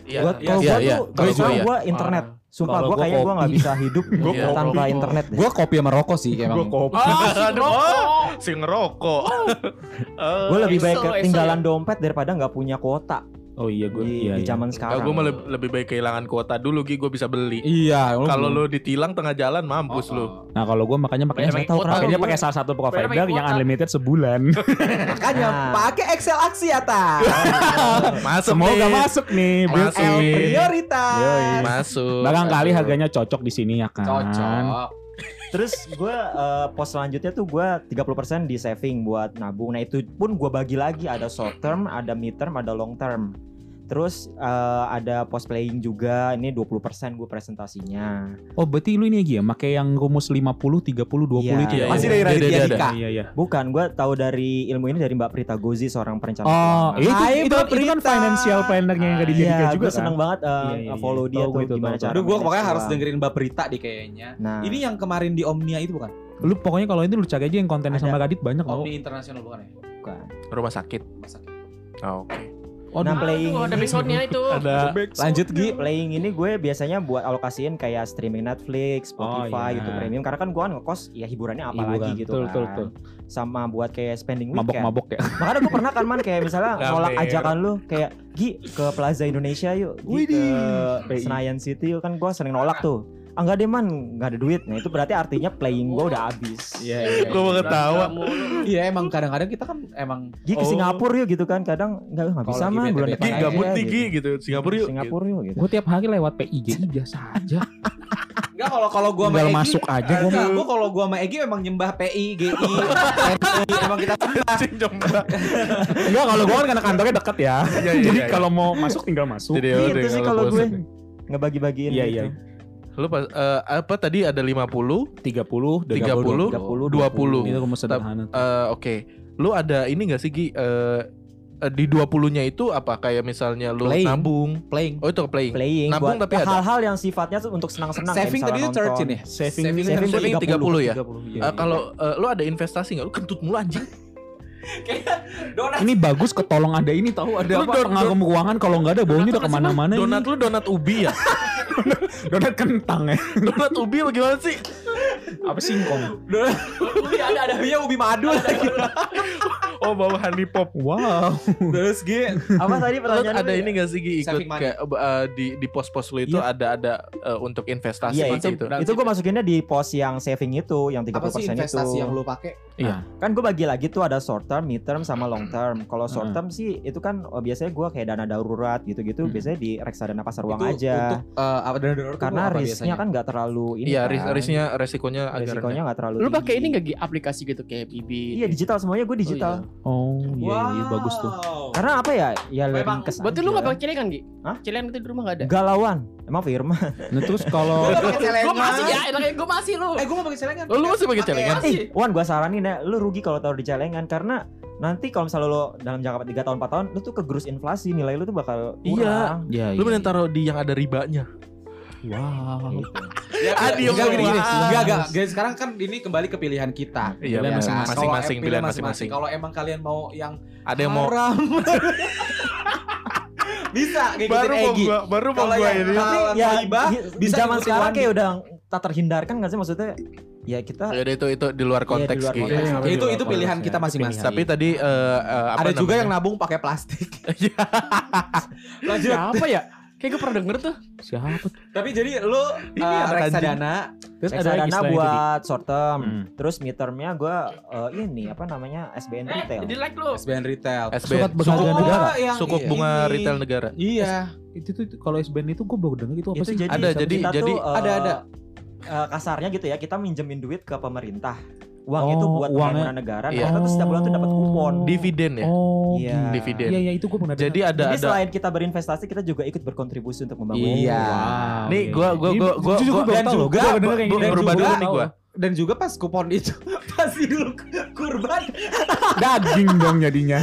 Speaker 8: Iya,
Speaker 5: Gua-
Speaker 8: iya,
Speaker 5: kalau
Speaker 8: iya,
Speaker 5: gua
Speaker 8: iya.
Speaker 5: tuh-
Speaker 8: Gue
Speaker 5: kalau
Speaker 8: juga
Speaker 5: gua,
Speaker 8: ya.
Speaker 5: gua internet. Sumpah
Speaker 1: Kalau
Speaker 5: gua
Speaker 1: gua
Speaker 5: kayak gua nggak bisa hidup
Speaker 2: Gua
Speaker 5: Iya.
Speaker 2: kopi.
Speaker 5: tanpa internet deh.
Speaker 3: gue kopi sama rokok sih emang
Speaker 6: Ah.
Speaker 2: Gue kopi.
Speaker 6: Aduh, oh,
Speaker 2: Si ngerokok. Eh,
Speaker 5: Gue lebih baik
Speaker 6: Excel, Excel
Speaker 5: ketinggalan
Speaker 6: ya.
Speaker 5: dompet daripada nggak punya kuota
Speaker 1: Oh iya gue
Speaker 5: di,
Speaker 1: iya,
Speaker 5: di zaman
Speaker 2: Kalau
Speaker 5: sekarang.
Speaker 2: gue Ya, mah leb- lebih baik kehilangan kuota dulu Gi, gue bisa beli.
Speaker 3: iya Oh,
Speaker 2: Kalau lu ditilang tengah jalan mampus lu.
Speaker 1: Nah kalau gue makanya makanya
Speaker 2: Banyak
Speaker 1: saya
Speaker 2: yang
Speaker 1: tahu
Speaker 2: ikut,
Speaker 1: kenapa
Speaker 2: kalau
Speaker 1: dia
Speaker 2: Iya, gua.
Speaker 1: pakai salah satu provider
Speaker 6: Banyak yang
Speaker 1: yang
Speaker 6: ikut.
Speaker 1: unlimited sebulan.
Speaker 3: makanya
Speaker 5: Nah.
Speaker 3: pakai Excel aksi atas
Speaker 2: Masuk
Speaker 1: Semoga
Speaker 2: nih.
Speaker 1: masuk nih. Bill
Speaker 2: Masuk.
Speaker 1: Gates.
Speaker 5: iya.
Speaker 3: prioritas
Speaker 1: Yoi.
Speaker 2: Masuk.
Speaker 1: Barangkali
Speaker 2: Masuk.
Speaker 1: harganya cocok di sini ya kan.
Speaker 3: cocok
Speaker 5: Terus gue eh, pos selanjutnya tuh gue 30% di saving buat nabung. Nah itu pun gue bagi lagi ada short term, ada mid term, ada long term. Terus eh, ada pos playing juga. Ini 20% gue presentasinya.
Speaker 1: Oh berarti lu ini Gi, ya, pakai yang rumus 50 30 20
Speaker 5: Iya.
Speaker 1: itu. ya?
Speaker 3: masih
Speaker 1: Oh,
Speaker 8: Iya,
Speaker 3: dari
Speaker 8: iya,
Speaker 3: Raditya
Speaker 8: iya,
Speaker 3: Dika
Speaker 1: Iya iya.
Speaker 5: Bukan, gue tahu dari ilmu ini dari Mbak Prita Gozi seorang perencana.
Speaker 1: Oh,
Speaker 5: keuangan.
Speaker 1: itu,
Speaker 3: Hai,
Speaker 1: itu,
Speaker 3: Mbak
Speaker 1: itu kan
Speaker 3: Prita.
Speaker 1: financial planner-nya yang tadi
Speaker 5: Iya,
Speaker 1: Dika juga
Speaker 5: gue
Speaker 1: kan.
Speaker 5: seneng banget eh,
Speaker 1: Iya, iya, iya.
Speaker 5: follow dia
Speaker 1: Tahu
Speaker 5: tuh
Speaker 1: gua itu,
Speaker 5: gimana
Speaker 1: tahu.
Speaker 5: cara.
Speaker 3: aduh gue
Speaker 5: manage
Speaker 3: pokoknya harus
Speaker 5: uang.
Speaker 3: dengerin Mbak Prita deh kayaknya
Speaker 5: Nah,
Speaker 3: ini yang kemarin di Omnia itu bukan
Speaker 1: kan? Lu pokoknya kalau ini lu cari aja yang kontennya
Speaker 5: Ada.
Speaker 1: sama Radit banyak tau.
Speaker 3: Omnia Internasional bukan ya
Speaker 5: bukan.
Speaker 2: rumah sakit.
Speaker 3: Rumah sakit.
Speaker 2: Oh, Oke.
Speaker 1: Oh,
Speaker 5: Nah,
Speaker 1: di-
Speaker 5: playing
Speaker 6: Aduh, ada
Speaker 5: ini-
Speaker 6: besoknya itu.
Speaker 1: Iya.
Speaker 2: Ada
Speaker 3: lanjut Gi
Speaker 5: playing ini gue biasanya buat alokasiin kayak streaming Netflix,
Speaker 1: Oh,
Speaker 5: Spotify,
Speaker 1: iya.
Speaker 5: YouTube Premium karena kan gue kan ngekos ya hiburannya apa lagi
Speaker 1: Hiburan,
Speaker 5: gitu
Speaker 1: betul,
Speaker 5: kan.
Speaker 1: betul, betul.
Speaker 5: Sama buat kayak spending weekend.
Speaker 1: mabok-mabok ya.
Speaker 5: Makanya gue pernah kan man kayak misalnya
Speaker 2: Lamer.
Speaker 5: nolak ajakan lu kayak Gi ke Plaza Indonesia yuk, Gi ke Senayan City yuk kan gue sering nolak tuh. Ah enggak deh man, enggak ada duit. Nah itu berarti artinya playing gue udah habis.
Speaker 2: Gue mau ketawa.
Speaker 3: iya emang kadang-kadang kita kan emang
Speaker 5: Gi ke
Speaker 2: Oh.
Speaker 5: Singapura yuk gitu kan. Kadang enggak enggak
Speaker 3: Kalau
Speaker 5: bisa
Speaker 3: lagi
Speaker 5: man bulan
Speaker 3: bete-bete
Speaker 5: depan
Speaker 2: Gi
Speaker 5: aja
Speaker 2: gabut nih
Speaker 5: gitu.
Speaker 2: Gi gitu. Singapura yuk.
Speaker 5: Singapura yuk gitu.
Speaker 1: Gue tiap hari lewat PIGI biasa aja.
Speaker 3: enggak kalau kalau gue
Speaker 1: Tinggal masuk aja gue.
Speaker 3: Enggak, gue kalau gua sama Egi memang nyembah PI, GI, RI, emang kita
Speaker 2: Cing jombang.
Speaker 1: Enggak kalau gue kan karena kantornya deket ya.
Speaker 2: Iya, iya,
Speaker 1: Jadi
Speaker 2: iya.
Speaker 1: kalau mau masuk tinggal masuk.
Speaker 2: Jadi
Speaker 5: Iya,
Speaker 2: udah
Speaker 5: itu sih
Speaker 2: Gitu. nggak
Speaker 5: kalau gue
Speaker 2: bosen.
Speaker 5: ngebagi-bagiin
Speaker 1: Iya,
Speaker 5: gitu.
Speaker 1: iya.
Speaker 2: Lu pas eh, apa tadi ada 50,
Speaker 1: 30 dan
Speaker 2: 30,
Speaker 5: 30,
Speaker 2: 20.
Speaker 1: Itu rumus sederhana.
Speaker 2: Eh, oke. Lu ada ini gak sih Gi? Eh, eh, di 20-nya itu apa kayak misalnya lu
Speaker 3: Playing.
Speaker 2: nabung.
Speaker 3: playing.
Speaker 2: Oh, itu ke playing.
Speaker 5: playing
Speaker 2: Nabung
Speaker 5: buat
Speaker 2: tapi ada.
Speaker 5: hal-hal yang sifatnya tuh untuk senang-senang kayak
Speaker 3: Saving
Speaker 5: misalnya
Speaker 3: tadi itu 13
Speaker 5: nonton.
Speaker 3: ya?
Speaker 1: Saving,
Speaker 3: Saving
Speaker 2: Saving
Speaker 5: tuh
Speaker 2: 30,
Speaker 1: 30
Speaker 2: ya.
Speaker 5: iya.
Speaker 2: Eh, kalau eh, lu ada investasi nggak? Lu kentut mulu anjing.
Speaker 3: Donat.
Speaker 1: ini bagus ketolong ada ini tahu ada
Speaker 2: Lu
Speaker 1: apa
Speaker 2: don-
Speaker 1: pengagum ruangan kalau nggak ada baunya udah
Speaker 6: Donat apa sih,
Speaker 5: Nah,
Speaker 1: kemana-mana
Speaker 2: Donat
Speaker 1: ini.
Speaker 2: lu donat ubi ya?
Speaker 1: donat kentang ya
Speaker 2: donat ubi apa gimana sih?
Speaker 1: apa singkong
Speaker 3: Ubi ada ada ya ubi madu lagi.
Speaker 2: Oh, bawa honey pop.
Speaker 1: wow
Speaker 3: Terus Gi,
Speaker 5: apa
Speaker 2: Lu
Speaker 5: tadi pertanyaan
Speaker 2: ada ini gak sih Gi ikut
Speaker 3: ya? Saving money.
Speaker 2: kayak eh, di di pos-pos lu itu ada ada eh, untuk investasi
Speaker 5: Iya,
Speaker 2: gitu.
Speaker 5: itu, itu gue masukinnya di pos yang saving itu yang 30%
Speaker 3: apa sih
Speaker 5: itu
Speaker 3: investasi yang lu pakai?
Speaker 5: kan gue bagi lagi tuh ada short term, mid term sama long term kalau short
Speaker 1: Hmm.
Speaker 5: term sih itu kan oh, biasanya gue kayak dana darurat gitu-gitu
Speaker 1: Hmm.
Speaker 5: biasanya di reksadana pasar
Speaker 3: Itu
Speaker 5: uang aja
Speaker 3: Untuk eh, apa dana darurat
Speaker 5: karena
Speaker 3: itu apa
Speaker 5: risknya
Speaker 3: biasanya?
Speaker 5: kan nggak terlalu ini
Speaker 2: Iya,
Speaker 5: kan.
Speaker 2: ris- risnya resikonya agak
Speaker 5: risikonya
Speaker 2: rendah.
Speaker 5: nggak terlalu
Speaker 6: Lu pakai ini
Speaker 5: tinggi.
Speaker 6: gak Gi? aplikasi gitu kayak Bibi?
Speaker 5: iya digital semuanya gue digital
Speaker 1: oh iya, iya bagus tuh
Speaker 5: karena apa ya ya
Speaker 3: Memang.
Speaker 5: lebih kesan
Speaker 6: Berarti lu gak pakai celengan Gi?
Speaker 5: Hah?
Speaker 6: Celengan itu di rumah gak ada?
Speaker 5: galauan emang Firman
Speaker 1: nah terus kalau
Speaker 3: Gua pakai celengan.
Speaker 6: Gue masih ya, enaknya gue masih lu.
Speaker 3: Eh, gua mau pakai celengan.
Speaker 2: Oh, lu masih pakai celengan?
Speaker 5: Eh, Wan, gua saranin ya, lu rugi kalau taruh di celengan karena nanti kalau misalnya lo dalam jangka 3 tahun 4 tahun lu tuh kegerus inflasi, nilai lu tuh bakal
Speaker 3: Iya.
Speaker 5: kurang.
Speaker 1: ya,
Speaker 2: Lu
Speaker 5: iya.
Speaker 2: mending taruh di yang ada ribanya.
Speaker 1: wow
Speaker 5: Gitu.
Speaker 2: Ah,
Speaker 3: Enggak
Speaker 2: dia
Speaker 3: enggak, gini gini.
Speaker 2: ngomong.
Speaker 3: Enggak enggak. Guys, sekarang kan ini kembali ke pilihan kita.
Speaker 2: Iya,
Speaker 1: Pilihan
Speaker 3: Ya
Speaker 1: masing-
Speaker 3: kan? Kalau
Speaker 2: masing-masing,
Speaker 3: em-
Speaker 2: pilihan masing-masing.
Speaker 3: Kalau emang kalian mau yang
Speaker 2: Ada yang mau
Speaker 3: haram. bisa ngikutin
Speaker 2: baru mau
Speaker 3: Egi.
Speaker 2: gua baru mau
Speaker 3: Kalau
Speaker 2: gua
Speaker 3: yang
Speaker 2: ini.
Speaker 5: Tapi
Speaker 3: halal
Speaker 5: ya
Speaker 3: ghaibah,
Speaker 5: di, di
Speaker 3: bisa
Speaker 5: zaman
Speaker 3: ngikutin
Speaker 5: sekarang
Speaker 3: Wan.
Speaker 5: kayak udah tak terhindarkan nggak sih maksudnya? Ya kita
Speaker 2: Ya udah, itu itu di luar konteks
Speaker 5: luar
Speaker 2: gitu.
Speaker 5: konteks. Iya,
Speaker 3: Ya, itu itu pilihan kita masing-masing.
Speaker 2: Tapi tadi eh, eh, apa
Speaker 3: Ada juga
Speaker 2: namanya?
Speaker 3: yang nabung pakai plastik.
Speaker 2: Iya.
Speaker 3: Lanjut.
Speaker 6: Siapa ya? Kayak gue pernah denger tuh.
Speaker 1: siapa tuh?
Speaker 3: Tapi jadi lu
Speaker 2: Ini
Speaker 3: uh,
Speaker 2: anak
Speaker 3: reksadana
Speaker 1: terus ada lagi
Speaker 5: reksadana
Speaker 1: selain itu, Di?
Speaker 5: buat short term,
Speaker 1: Hmm.
Speaker 5: terus mid termnya gua eh, ini apa namanya? SBN
Speaker 6: Eh,
Speaker 5: retail.
Speaker 6: di like lu.
Speaker 3: SBN retail.
Speaker 2: SBN.
Speaker 1: Surat berharga
Speaker 3: Oh,
Speaker 1: negara.
Speaker 3: yang
Speaker 2: sukuk
Speaker 5: Iya.
Speaker 3: ini.
Speaker 2: bunga retail negara.
Speaker 3: Iya.
Speaker 1: itu tuh itu- kalau SBN itu gue baru denger itu apa
Speaker 5: Itu
Speaker 1: sih
Speaker 5: jadi
Speaker 2: Ada,
Speaker 5: kita
Speaker 2: jadi-
Speaker 5: tuh,
Speaker 2: jadi-
Speaker 5: eh,
Speaker 3: Ada, ada.
Speaker 5: eh, kasarnya gitu ya kita minjemin duit ke pemerintah uang itu
Speaker 1: Oh,
Speaker 5: buat
Speaker 1: uangnya-
Speaker 5: pembangunan negara nah
Speaker 2: Iya.
Speaker 5: kita tuh setiap bulan tuh dapat kupon
Speaker 2: dividen ya
Speaker 1: Oh,
Speaker 5: Iya.
Speaker 1: gitu.
Speaker 2: dividen
Speaker 1: Iya, iya itu gue pernah
Speaker 2: jadi ada
Speaker 5: jadi
Speaker 2: ada
Speaker 5: selain kita berinvestasi kita juga ikut berkontribusi untuk membangun
Speaker 3: Iya.
Speaker 2: nih gua gua gua gua,
Speaker 1: Jujur gua
Speaker 2: gua,
Speaker 1: baru
Speaker 3: dan
Speaker 1: tahu loh,
Speaker 3: juga
Speaker 1: gua baru denger kayak
Speaker 2: gua-
Speaker 1: gini.
Speaker 2: berubah
Speaker 1: Jujur
Speaker 2: dulu
Speaker 1: gua
Speaker 2: nih
Speaker 1: tahu.
Speaker 2: gua
Speaker 3: Dan juga pas kupon itu pasti dulu kurban.
Speaker 1: Daging dong jadinya.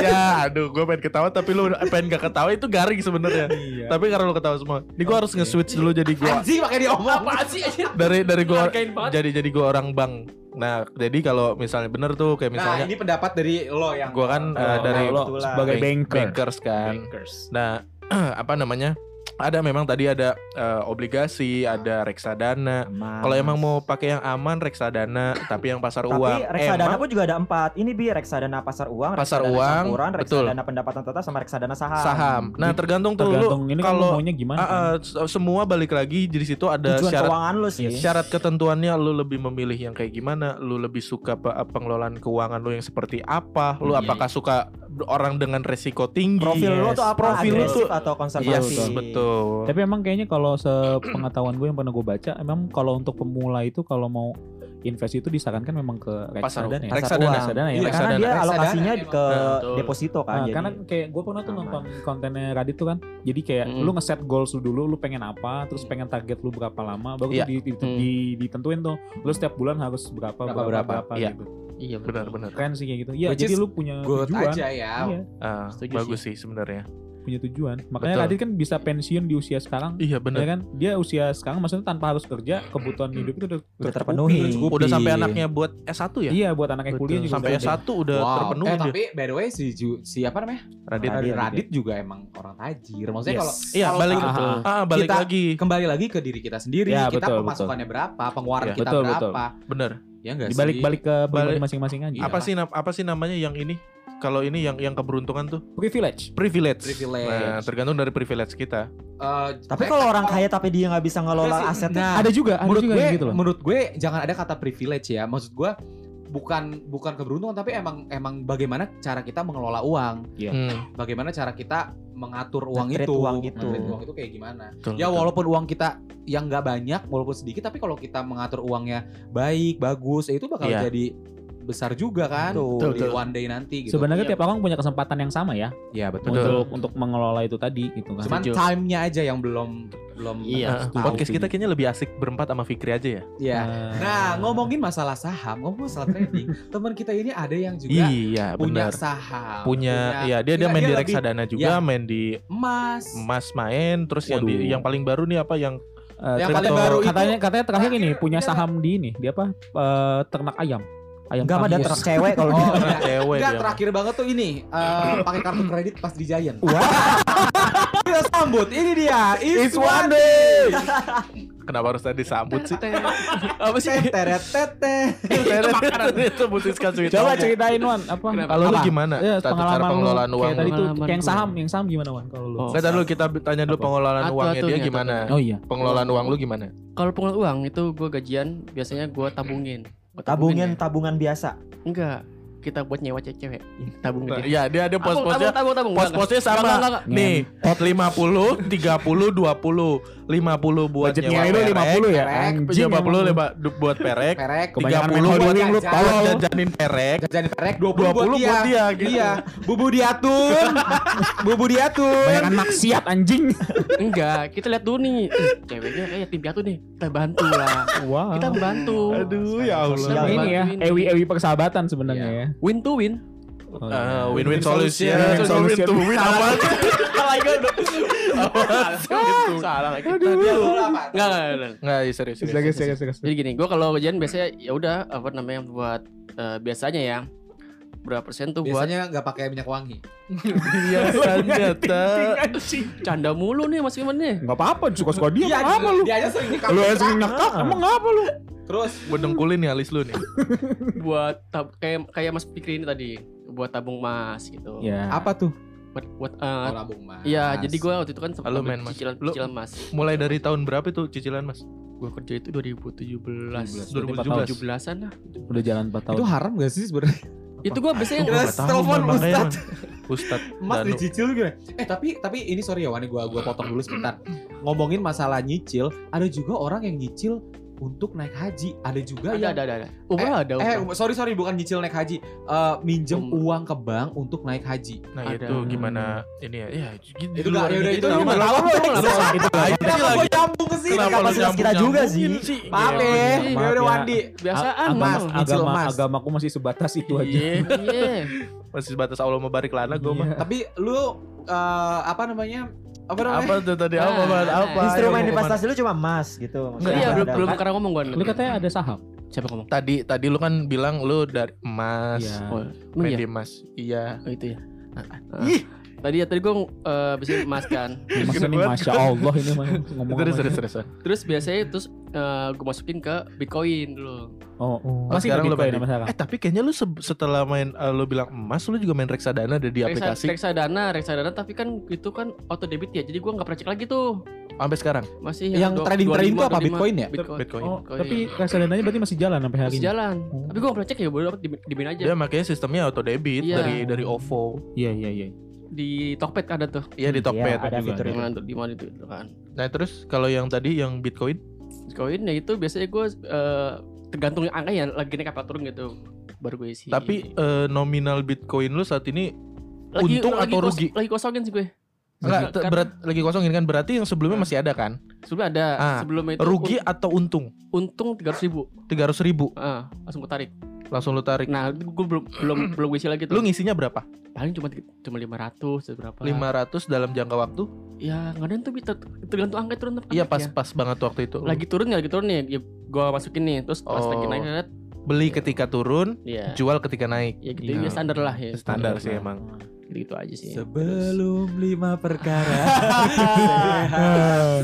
Speaker 2: ya aduh gua pengen ketawa tapi lu pengen gak ketawa itu garing sebenarnya
Speaker 1: Iya.
Speaker 2: tapi karena lu ketawa semua ini gua harus nge-switch dulu jadi gua
Speaker 3: Anjing pakai diomong.
Speaker 6: Apaan sih anjir?
Speaker 2: dari dari gua
Speaker 6: Hargain banget.
Speaker 2: jadi jadi gua orang bank nah jadi kalau misalnya bener tuh kayak
Speaker 3: Nah,
Speaker 2: misalnya
Speaker 3: ini pendapat dari lo yang
Speaker 2: gua kan
Speaker 1: Oh,
Speaker 2: eh, dari
Speaker 5: nah, lo kebetulan.
Speaker 1: sebagai
Speaker 2: bank-
Speaker 1: banker.
Speaker 2: bankers kan
Speaker 1: Bankers.
Speaker 2: Nah, apa namanya? Ada memang tadi ada eh, obligasi, ada reksadana.
Speaker 5: Aman.
Speaker 2: Kalau emang mau pakai yang aman reksadana, tapi yang pasar
Speaker 5: Ah. tapi
Speaker 2: uang.
Speaker 5: reksadana
Speaker 2: emang
Speaker 5: pun juga ada empat ini bi reksadana pasar uang
Speaker 2: Pasar
Speaker 5: reksadana
Speaker 2: uang,
Speaker 5: campuran,
Speaker 2: betul.
Speaker 5: reksadana pendapatan tetap sama reksadana saham
Speaker 2: saham. Nah, tergantung tuh
Speaker 1: Tergantung
Speaker 2: lu
Speaker 1: ini kan lu
Speaker 2: kalau
Speaker 1: maunya gimana.
Speaker 2: ah,
Speaker 1: kan.
Speaker 2: ah, se- semua balik lagi di situ ada
Speaker 5: tujuan
Speaker 2: syarat
Speaker 5: keuangan lu sih
Speaker 2: syarat ketentuannya lu lebih memilih yang kayak gimana, lu lebih suka pe- eh, pengelolaan keuangan lu yang seperti apa, lu
Speaker 3: Iya,
Speaker 2: apakah suka orang dengan resiko tinggi?
Speaker 5: profil lu tuh apa
Speaker 2: Profil lu
Speaker 5: agresif
Speaker 2: tuh-
Speaker 5: atau
Speaker 2: Yes,
Speaker 5: konservatif
Speaker 2: betul.
Speaker 1: Tapi emang kayaknya kalau sepengetahuan gue yang pernah gue baca, emang kalau untuk pemula itu kalau mau invest itu disarankan memang ke
Speaker 2: Pasar
Speaker 1: reksadana ya.
Speaker 2: uang.
Speaker 5: Pasar
Speaker 1: Reksadana,
Speaker 5: uang.
Speaker 1: reksadana ya.
Speaker 3: Iya,
Speaker 1: Karena
Speaker 5: karena dia
Speaker 3: Reksadana
Speaker 5: alokasinya
Speaker 3: emang.
Speaker 5: ke
Speaker 2: Nah, betul.
Speaker 5: deposito kan
Speaker 1: Ah,
Speaker 5: jadi
Speaker 1: karena kayak gue pernah tuh
Speaker 5: aman.
Speaker 1: nonton kontennya Radit tuh kan jadi kayak
Speaker 6: Mm.
Speaker 1: lu ngeset goals lu dulu lu pengen apa terus pengen target lu berapa lama baru tuh
Speaker 2: Iya.
Speaker 1: di- di-
Speaker 6: Mm.
Speaker 1: di- ditentuin tuh lu setiap bulan harus berapa berapa berapa,
Speaker 3: berapa.
Speaker 2: Iya.
Speaker 1: gitu
Speaker 6: Iya benar.
Speaker 2: Benar-benar.
Speaker 1: keren sih kayak gitu ya
Speaker 3: Which
Speaker 1: jadi
Speaker 3: is
Speaker 1: lu punya
Speaker 3: Good
Speaker 1: tujuan
Speaker 3: aja ya.
Speaker 1: Iya,
Speaker 2: Ah,
Speaker 6: Setuju
Speaker 2: bagus sih sebenarnya.
Speaker 1: punya tujuan makanya
Speaker 2: Betul.
Speaker 1: Radit kan bisa pensiun di usia sekarang
Speaker 2: Iya benar.
Speaker 1: ya kan dia usia sekarang maksudnya tanpa harus kerja kebutuhan hidup itu udah
Speaker 5: udah
Speaker 1: tercukupi.
Speaker 5: terpenuhi
Speaker 3: Tercukupi.
Speaker 2: Udah sampai anaknya buat S1 ya?
Speaker 1: iya buat anak yang kuliah juga
Speaker 2: sampai
Speaker 1: udah-
Speaker 2: S1 udah
Speaker 3: Wow.
Speaker 2: terpenuhi
Speaker 3: eh,
Speaker 2: dia.
Speaker 3: tapi by the way si Ju- si apa namanya?
Speaker 2: Radit.
Speaker 5: Radit.
Speaker 3: Radit, juga emang orang tajir. Maksudnya
Speaker 2: Yes.
Speaker 3: kalau
Speaker 2: Iya,
Speaker 3: kalau-
Speaker 2: balik
Speaker 3: Aha.
Speaker 2: ah, balik
Speaker 3: Kita-
Speaker 2: lagi.
Speaker 3: kembali lagi ke diri kita sendiri,
Speaker 1: Ya,
Speaker 3: kita
Speaker 1: betul, Iya,
Speaker 3: pemasukannya berapa, pengeluaran
Speaker 2: Ya,
Speaker 3: kita
Speaker 1: betul,
Speaker 3: berapa.
Speaker 2: Bener.
Speaker 3: Ya enggak
Speaker 1: dibalik balik ke pribadi
Speaker 2: Balik-
Speaker 1: masing-masing aja
Speaker 3: Iya.
Speaker 2: Apa sih nam- apa sih namanya yang ini? Kalau ini yang yang keberuntungan tuh
Speaker 1: privilege
Speaker 2: privilege.
Speaker 3: Privilege.
Speaker 2: Nah, tergantung dari privilege kita.
Speaker 3: Eh,
Speaker 5: tapi kalau orang kaya tapi dia nggak bisa ngelola aset
Speaker 3: nah,
Speaker 1: ada juga ada
Speaker 3: menurut
Speaker 1: juga
Speaker 3: gue
Speaker 1: yang gitu loh
Speaker 3: menurut gue jangan ada kata privilege ya. Maksud gue bukan bukan keberuntungan tapi emang emang bagaimana cara kita mengelola uang,
Speaker 1: Iya.
Speaker 2: Hmm,
Speaker 3: bagaimana cara kita mengatur uang
Speaker 5: Nge-treat
Speaker 3: itu,
Speaker 5: uang itu.
Speaker 3: nge-treat uang itu kayak gimana.
Speaker 2: betul,
Speaker 3: Ya
Speaker 2: betul.
Speaker 3: walaupun uang kita yang nggak banyak, walaupun sedikit, tapi kalau kita mengatur uangnya baik, bagus, ya itu bakal
Speaker 2: Iya.
Speaker 3: jadi besar juga kan
Speaker 5: Betul,
Speaker 3: di
Speaker 2: betul.
Speaker 3: one day nanti gitu.
Speaker 1: Sebenarnya
Speaker 6: Iya.
Speaker 1: tiap orang punya kesempatan yang sama ya
Speaker 3: Ya betul.
Speaker 2: Iya.
Speaker 1: untuk untuk mengelola itu tadi gitu kan.
Speaker 3: Cuman time-nya aja yang belum belum
Speaker 2: Nah,
Speaker 3: Iya, tahu.
Speaker 2: podcast kita kayaknya lebih asik berempat sama Fikri aja ya.
Speaker 3: Iya.
Speaker 1: Eh,
Speaker 3: Nah, ngomongin masalah saham, ngomongin masalah trading, teman kita ini ada yang juga
Speaker 2: iya,
Speaker 3: punya
Speaker 2: benar.
Speaker 3: saham,
Speaker 2: Punya ya dia dia
Speaker 3: Iya,
Speaker 2: main
Speaker 3: dia
Speaker 2: di
Speaker 3: lebih-
Speaker 2: reksadana juga,
Speaker 3: Iya.
Speaker 2: main di
Speaker 3: emas.
Speaker 2: emas main, terus yang di-
Speaker 1: Waduh.
Speaker 2: yang paling baru nih apa yang
Speaker 1: Eh,
Speaker 3: Yang
Speaker 1: kripto-
Speaker 3: paling baru itu- Oh,
Speaker 1: katanya katanya terakhir ini
Speaker 3: Terakhir,
Speaker 1: punya
Speaker 3: iya.
Speaker 1: saham di ini, dia apa? Eh, ternak ayam. Ayam
Speaker 5: nggak ada
Speaker 1: kampus.
Speaker 5: ternak cewek kalau
Speaker 3: Oh,
Speaker 5: dia
Speaker 3: iya.
Speaker 2: cewek
Speaker 3: Enggak,
Speaker 2: dia.
Speaker 3: terakhir banget tuh ini eh, pakai kartu kredit pas di Giant. kita sambut, ini dia.
Speaker 2: It's one day. Kenapa harus tadi sambut sih?
Speaker 3: Apa sih? Teret tete.
Speaker 2: itu putuskan sweet
Speaker 1: Coba
Speaker 2: talk.
Speaker 1: ceritain Wan, apa?
Speaker 2: Kalau lu
Speaker 1: Apa?
Speaker 2: gimana?
Speaker 1: Ya,
Speaker 2: Tata cara
Speaker 1: pengalaman lu.
Speaker 2: pengelolaan uang.
Speaker 1: Kayak tadi tuh
Speaker 6: Pengalaman
Speaker 1: kayak yang
Speaker 6: gue.
Speaker 1: saham, yang saham gimana Wan kalau lu?
Speaker 6: Oh.
Speaker 2: Enggak dulu kita tanya dulu
Speaker 1: Apa?
Speaker 2: pengelolaan
Speaker 6: Atu-
Speaker 2: uangnya dia
Speaker 6: atunya,
Speaker 2: gimana?
Speaker 1: Oh iya.
Speaker 2: Pengelolaan uang lu gimana?
Speaker 6: Kalau pengeluaran uang itu gue gajian biasanya gue tabungin. Gua ya.
Speaker 5: tabungan tabungan biasa
Speaker 6: Enggak. Kita buat nyewa cewek. Tabung
Speaker 2: Nah,
Speaker 6: gede.
Speaker 2: Iya, dia ada
Speaker 6: Tabung,
Speaker 2: pos-posnya.
Speaker 6: tabung, tabung, tabung. Enggak,
Speaker 2: Pos-posnya
Speaker 6: enggak. Enggak,
Speaker 2: sama.
Speaker 6: enggak, enggak.
Speaker 2: Nih, 50, 30, 20, 50 buat
Speaker 1: Budgetnya
Speaker 2: nyewa
Speaker 1: itu
Speaker 2: perek,
Speaker 1: 50 ya.
Speaker 3: perek,
Speaker 1: Anjing.
Speaker 2: 50 lima du- buat perek,
Speaker 3: Perek.
Speaker 1: Kebanyakan
Speaker 2: 30
Speaker 1: main
Speaker 2: buat
Speaker 1: holding lu,
Speaker 2: buat
Speaker 1: tolol.
Speaker 2: jajanin perek,
Speaker 3: Jajan perek
Speaker 2: 20 buat dia. gitu.
Speaker 3: Iya, bubu diatun. bubu diatun.
Speaker 1: Banyakan maksiat anjing.
Speaker 6: Enggak, kita lihat dulu nih. Ih, Ceweknya kayak tim piatu nih. Kita bantu lah.
Speaker 1: Wow.
Speaker 6: Kita bantu.
Speaker 2: Aduh, ya Allah.
Speaker 5: sosial ini
Speaker 1: ini ya,
Speaker 6: bantuin.
Speaker 1: ewi-ewi persahabatan sebenarnya ya.
Speaker 6: Win to win.
Speaker 1: Oh, iya.
Speaker 2: Ah, win-win solution,
Speaker 1: Win-win
Speaker 2: win
Speaker 1: solution.
Speaker 2: to win apa?
Speaker 6: Salah lagi.
Speaker 3: Enggak.
Speaker 6: Enggak, enggak, enggak.
Speaker 2: Enggak, ya, serius. serius.
Speaker 1: Serius, serius, serius.
Speaker 6: Jadi gini, gue kalau gajian biasanya ya udah apa namanya buat eh, biasanya ya berapa persen tuh buat
Speaker 3: Biasanya enggak pakai minyak wangi.
Speaker 2: Biasanya tak.
Speaker 6: canda mulu nih Mas Iman nih.
Speaker 1: Enggak apa-apa, suka-suka dia. Iya, Kenapa lu?
Speaker 3: Iya, Dia aja sering nikah.
Speaker 1: Lu asing nakal, emang ngapa lu?
Speaker 3: Terus
Speaker 2: Gue dengkulin nih alis lu nih.
Speaker 6: buat tab kayak kayak Mas Fikri ini tadi buat tabung emas gitu.
Speaker 5: Iya.
Speaker 1: Ya.
Speaker 3: apa tuh?
Speaker 6: Buat buat eh,
Speaker 3: Oh, Labung mas.
Speaker 6: Iya, jadi gue waktu itu kan sempat
Speaker 2: Lu
Speaker 6: ambil
Speaker 2: main, Mas.
Speaker 6: cicilan,
Speaker 2: Lu-
Speaker 6: cicilan mas.
Speaker 2: Mulai dari tahun berapa itu cicilan, Mas?
Speaker 6: gue kerja itu 2017,
Speaker 2: 2017.
Speaker 6: 2017-an lah.
Speaker 1: Udah jalan 4 tahun.
Speaker 3: Itu haram gak sih sebenarnya?
Speaker 6: Itu gua biasanya
Speaker 2: Oh, Gua nggak
Speaker 3: Terus
Speaker 2: tahu,
Speaker 3: telepon
Speaker 2: Bang, makanya,
Speaker 3: Ustadz.
Speaker 2: Bang. Ustadz
Speaker 3: Mas
Speaker 2: Danu.
Speaker 3: dicicil gitu. Eh tapi tapi ini sorry ya Wan, gua gua potong dulu sebentar. Ngomongin masalah nyicil, ada juga orang yang nyicil untuk naik haji. Ada juga
Speaker 6: Iya, ada
Speaker 3: yang
Speaker 6: ada ada. ada.
Speaker 2: Oh,
Speaker 6: Umrah ada.
Speaker 3: eh
Speaker 6: umrah.
Speaker 3: sorry sorry bukan nyicil naik haji, Eh, minjem
Speaker 6: Umrah.
Speaker 3: uang ke bank untuk naik haji.
Speaker 2: Nah
Speaker 6: Ada.
Speaker 2: itu gimana ini ya? Ya gitu.
Speaker 3: Itu nggak- yaudah, itu
Speaker 2: nggak
Speaker 3: gimana?
Speaker 2: apa-apa.
Speaker 3: Itu nggak apa-apa.
Speaker 2: Itu nggak apa-apa.
Speaker 3: Kenapa gua nyambung ke sini?
Speaker 2: Kenapa
Speaker 5: Nggak
Speaker 2: lu
Speaker 5: masuk masuk kita
Speaker 2: nyambung-
Speaker 5: juga
Speaker 2: nyambungin sih?
Speaker 3: Maaf ya,
Speaker 1: Maaf
Speaker 3: ya udah
Speaker 1: ya.
Speaker 3: Wandi.
Speaker 6: Biasaan
Speaker 1: agama,
Speaker 6: mas.
Speaker 3: nyicil
Speaker 1: agama,
Speaker 3: emas.
Speaker 1: agamaku masih sebatas itu aja.
Speaker 6: Iya, Iya.
Speaker 2: Masih sebatas Allah mubarik lana gue mah.
Speaker 3: Tapi lu eh, apa namanya? Apa namanya?
Speaker 2: Apa tuh tadi apa
Speaker 6: Nah,
Speaker 2: Bang? apa?
Speaker 5: Instrumen
Speaker 2: Ayo,
Speaker 5: investasi lu cuma emas gitu.
Speaker 2: Nggak,
Speaker 6: Iya,
Speaker 5: ada-
Speaker 6: belum
Speaker 5: ada-
Speaker 6: belum karena ngomong gua.
Speaker 1: Iya. Lu katanya ada saham.
Speaker 6: siapa ngomong?
Speaker 2: Tadi tadi lu kan bilang lu dari emas.
Speaker 1: Iya.
Speaker 6: Oh, emang
Speaker 2: Main
Speaker 6: iya.
Speaker 2: di emas. Iya.
Speaker 6: Oh, itu ya. Ah. Tadi ya tadi gua eh, bisa emas kan.
Speaker 1: Mas ini
Speaker 2: Kenapa?
Speaker 1: masya Allah ini mah ngomong. apa
Speaker 2: Terus terus
Speaker 1: aja.
Speaker 2: terus. terus.
Speaker 6: Terus biasanya terus eh, gua masukin ke Bitcoin dulu.
Speaker 1: Oh,
Speaker 2: Mas, sekarang lu
Speaker 1: Bitcoin
Speaker 2: balik.
Speaker 1: sama sekarang?
Speaker 2: Eh tapi kayaknya lu se- setelah main eh, lu bilang emas lu juga main reksadana ada di
Speaker 6: Reksa-
Speaker 2: aplikasi
Speaker 6: Reksadana, reksadana tapi kan itu kan auto debit ya. Jadi gua nggak pernah cek lagi tuh.
Speaker 2: sampai sekarang.
Speaker 6: Masih Iya,
Speaker 3: yang
Speaker 6: dua-
Speaker 3: trading trading itu
Speaker 6: 25,
Speaker 3: apa
Speaker 6: 25.
Speaker 3: Bitcoin ya?
Speaker 6: Bitcoin.
Speaker 2: Bitcoin.
Speaker 1: Oh, tapi reksadananya berarti masih jalan sampai hari
Speaker 6: Masih
Speaker 1: ini.
Speaker 6: jalan.
Speaker 1: Oh.
Speaker 6: Tapi gua nggak pernah cek ya, baru dapat di- di bin aja.
Speaker 2: Dia makanya sistemnya auto debit
Speaker 6: Iya.
Speaker 2: dari dari OVO.
Speaker 1: Iya, iya, iya.
Speaker 6: Di Tokped ada tuh.
Speaker 2: Iya di Tokped
Speaker 5: ada
Speaker 2: juga.
Speaker 5: fitur
Speaker 6: Di
Speaker 5: itu.
Speaker 6: mana tuh? Di mana itu itu kan.
Speaker 2: Nah terus kalau yang tadi yang Bitcoin
Speaker 6: Bitcoin ya itu biasanya gue tergantung angka ya lagi naik apa turun gitu baru gue isi.
Speaker 2: tapi eh, nominal Bitcoin lu saat ini
Speaker 6: Lagi-
Speaker 2: untung
Speaker 6: lagi
Speaker 2: atau
Speaker 6: kos-
Speaker 2: rugi?
Speaker 6: Lagi kosongin sih gue.
Speaker 2: enggak
Speaker 6: Karena-
Speaker 2: berat lagi kosongin kan berarti yang sebelumnya masih ada kan?
Speaker 6: Sebelumnya ada
Speaker 2: Ah,
Speaker 6: sebelumnya itu
Speaker 2: Rugi
Speaker 6: un-
Speaker 2: atau untung?
Speaker 6: untung tiga ratus ribu.
Speaker 2: 300 ribu
Speaker 6: Ah, langsung gue tarik.
Speaker 2: langsung lu tarik.
Speaker 6: Nah gue belum belum belum gue isi lagi tuh.
Speaker 2: Lu ngisinya berapa?
Speaker 6: Paling cuma cuma lima ratus berapa?
Speaker 2: 500 dalam jangka waktu?
Speaker 6: Ya nggak ada tuh bisa tergantung angka turun apa
Speaker 2: Iya
Speaker 6: naik ya.
Speaker 2: pas-pas banget waktu itu.
Speaker 6: Lagi turun ya lagi turun nih. Ya, gue masukin nih terus pas lagi
Speaker 2: Oh.
Speaker 6: naik naik
Speaker 2: Beli ketika turun,
Speaker 6: ya
Speaker 2: jual ketika naik.
Speaker 6: ya gitu
Speaker 2: Iya.
Speaker 6: ya standar lah ya.
Speaker 2: Standar sih emang.
Speaker 6: Gitu, aja sih.
Speaker 3: lima perkara.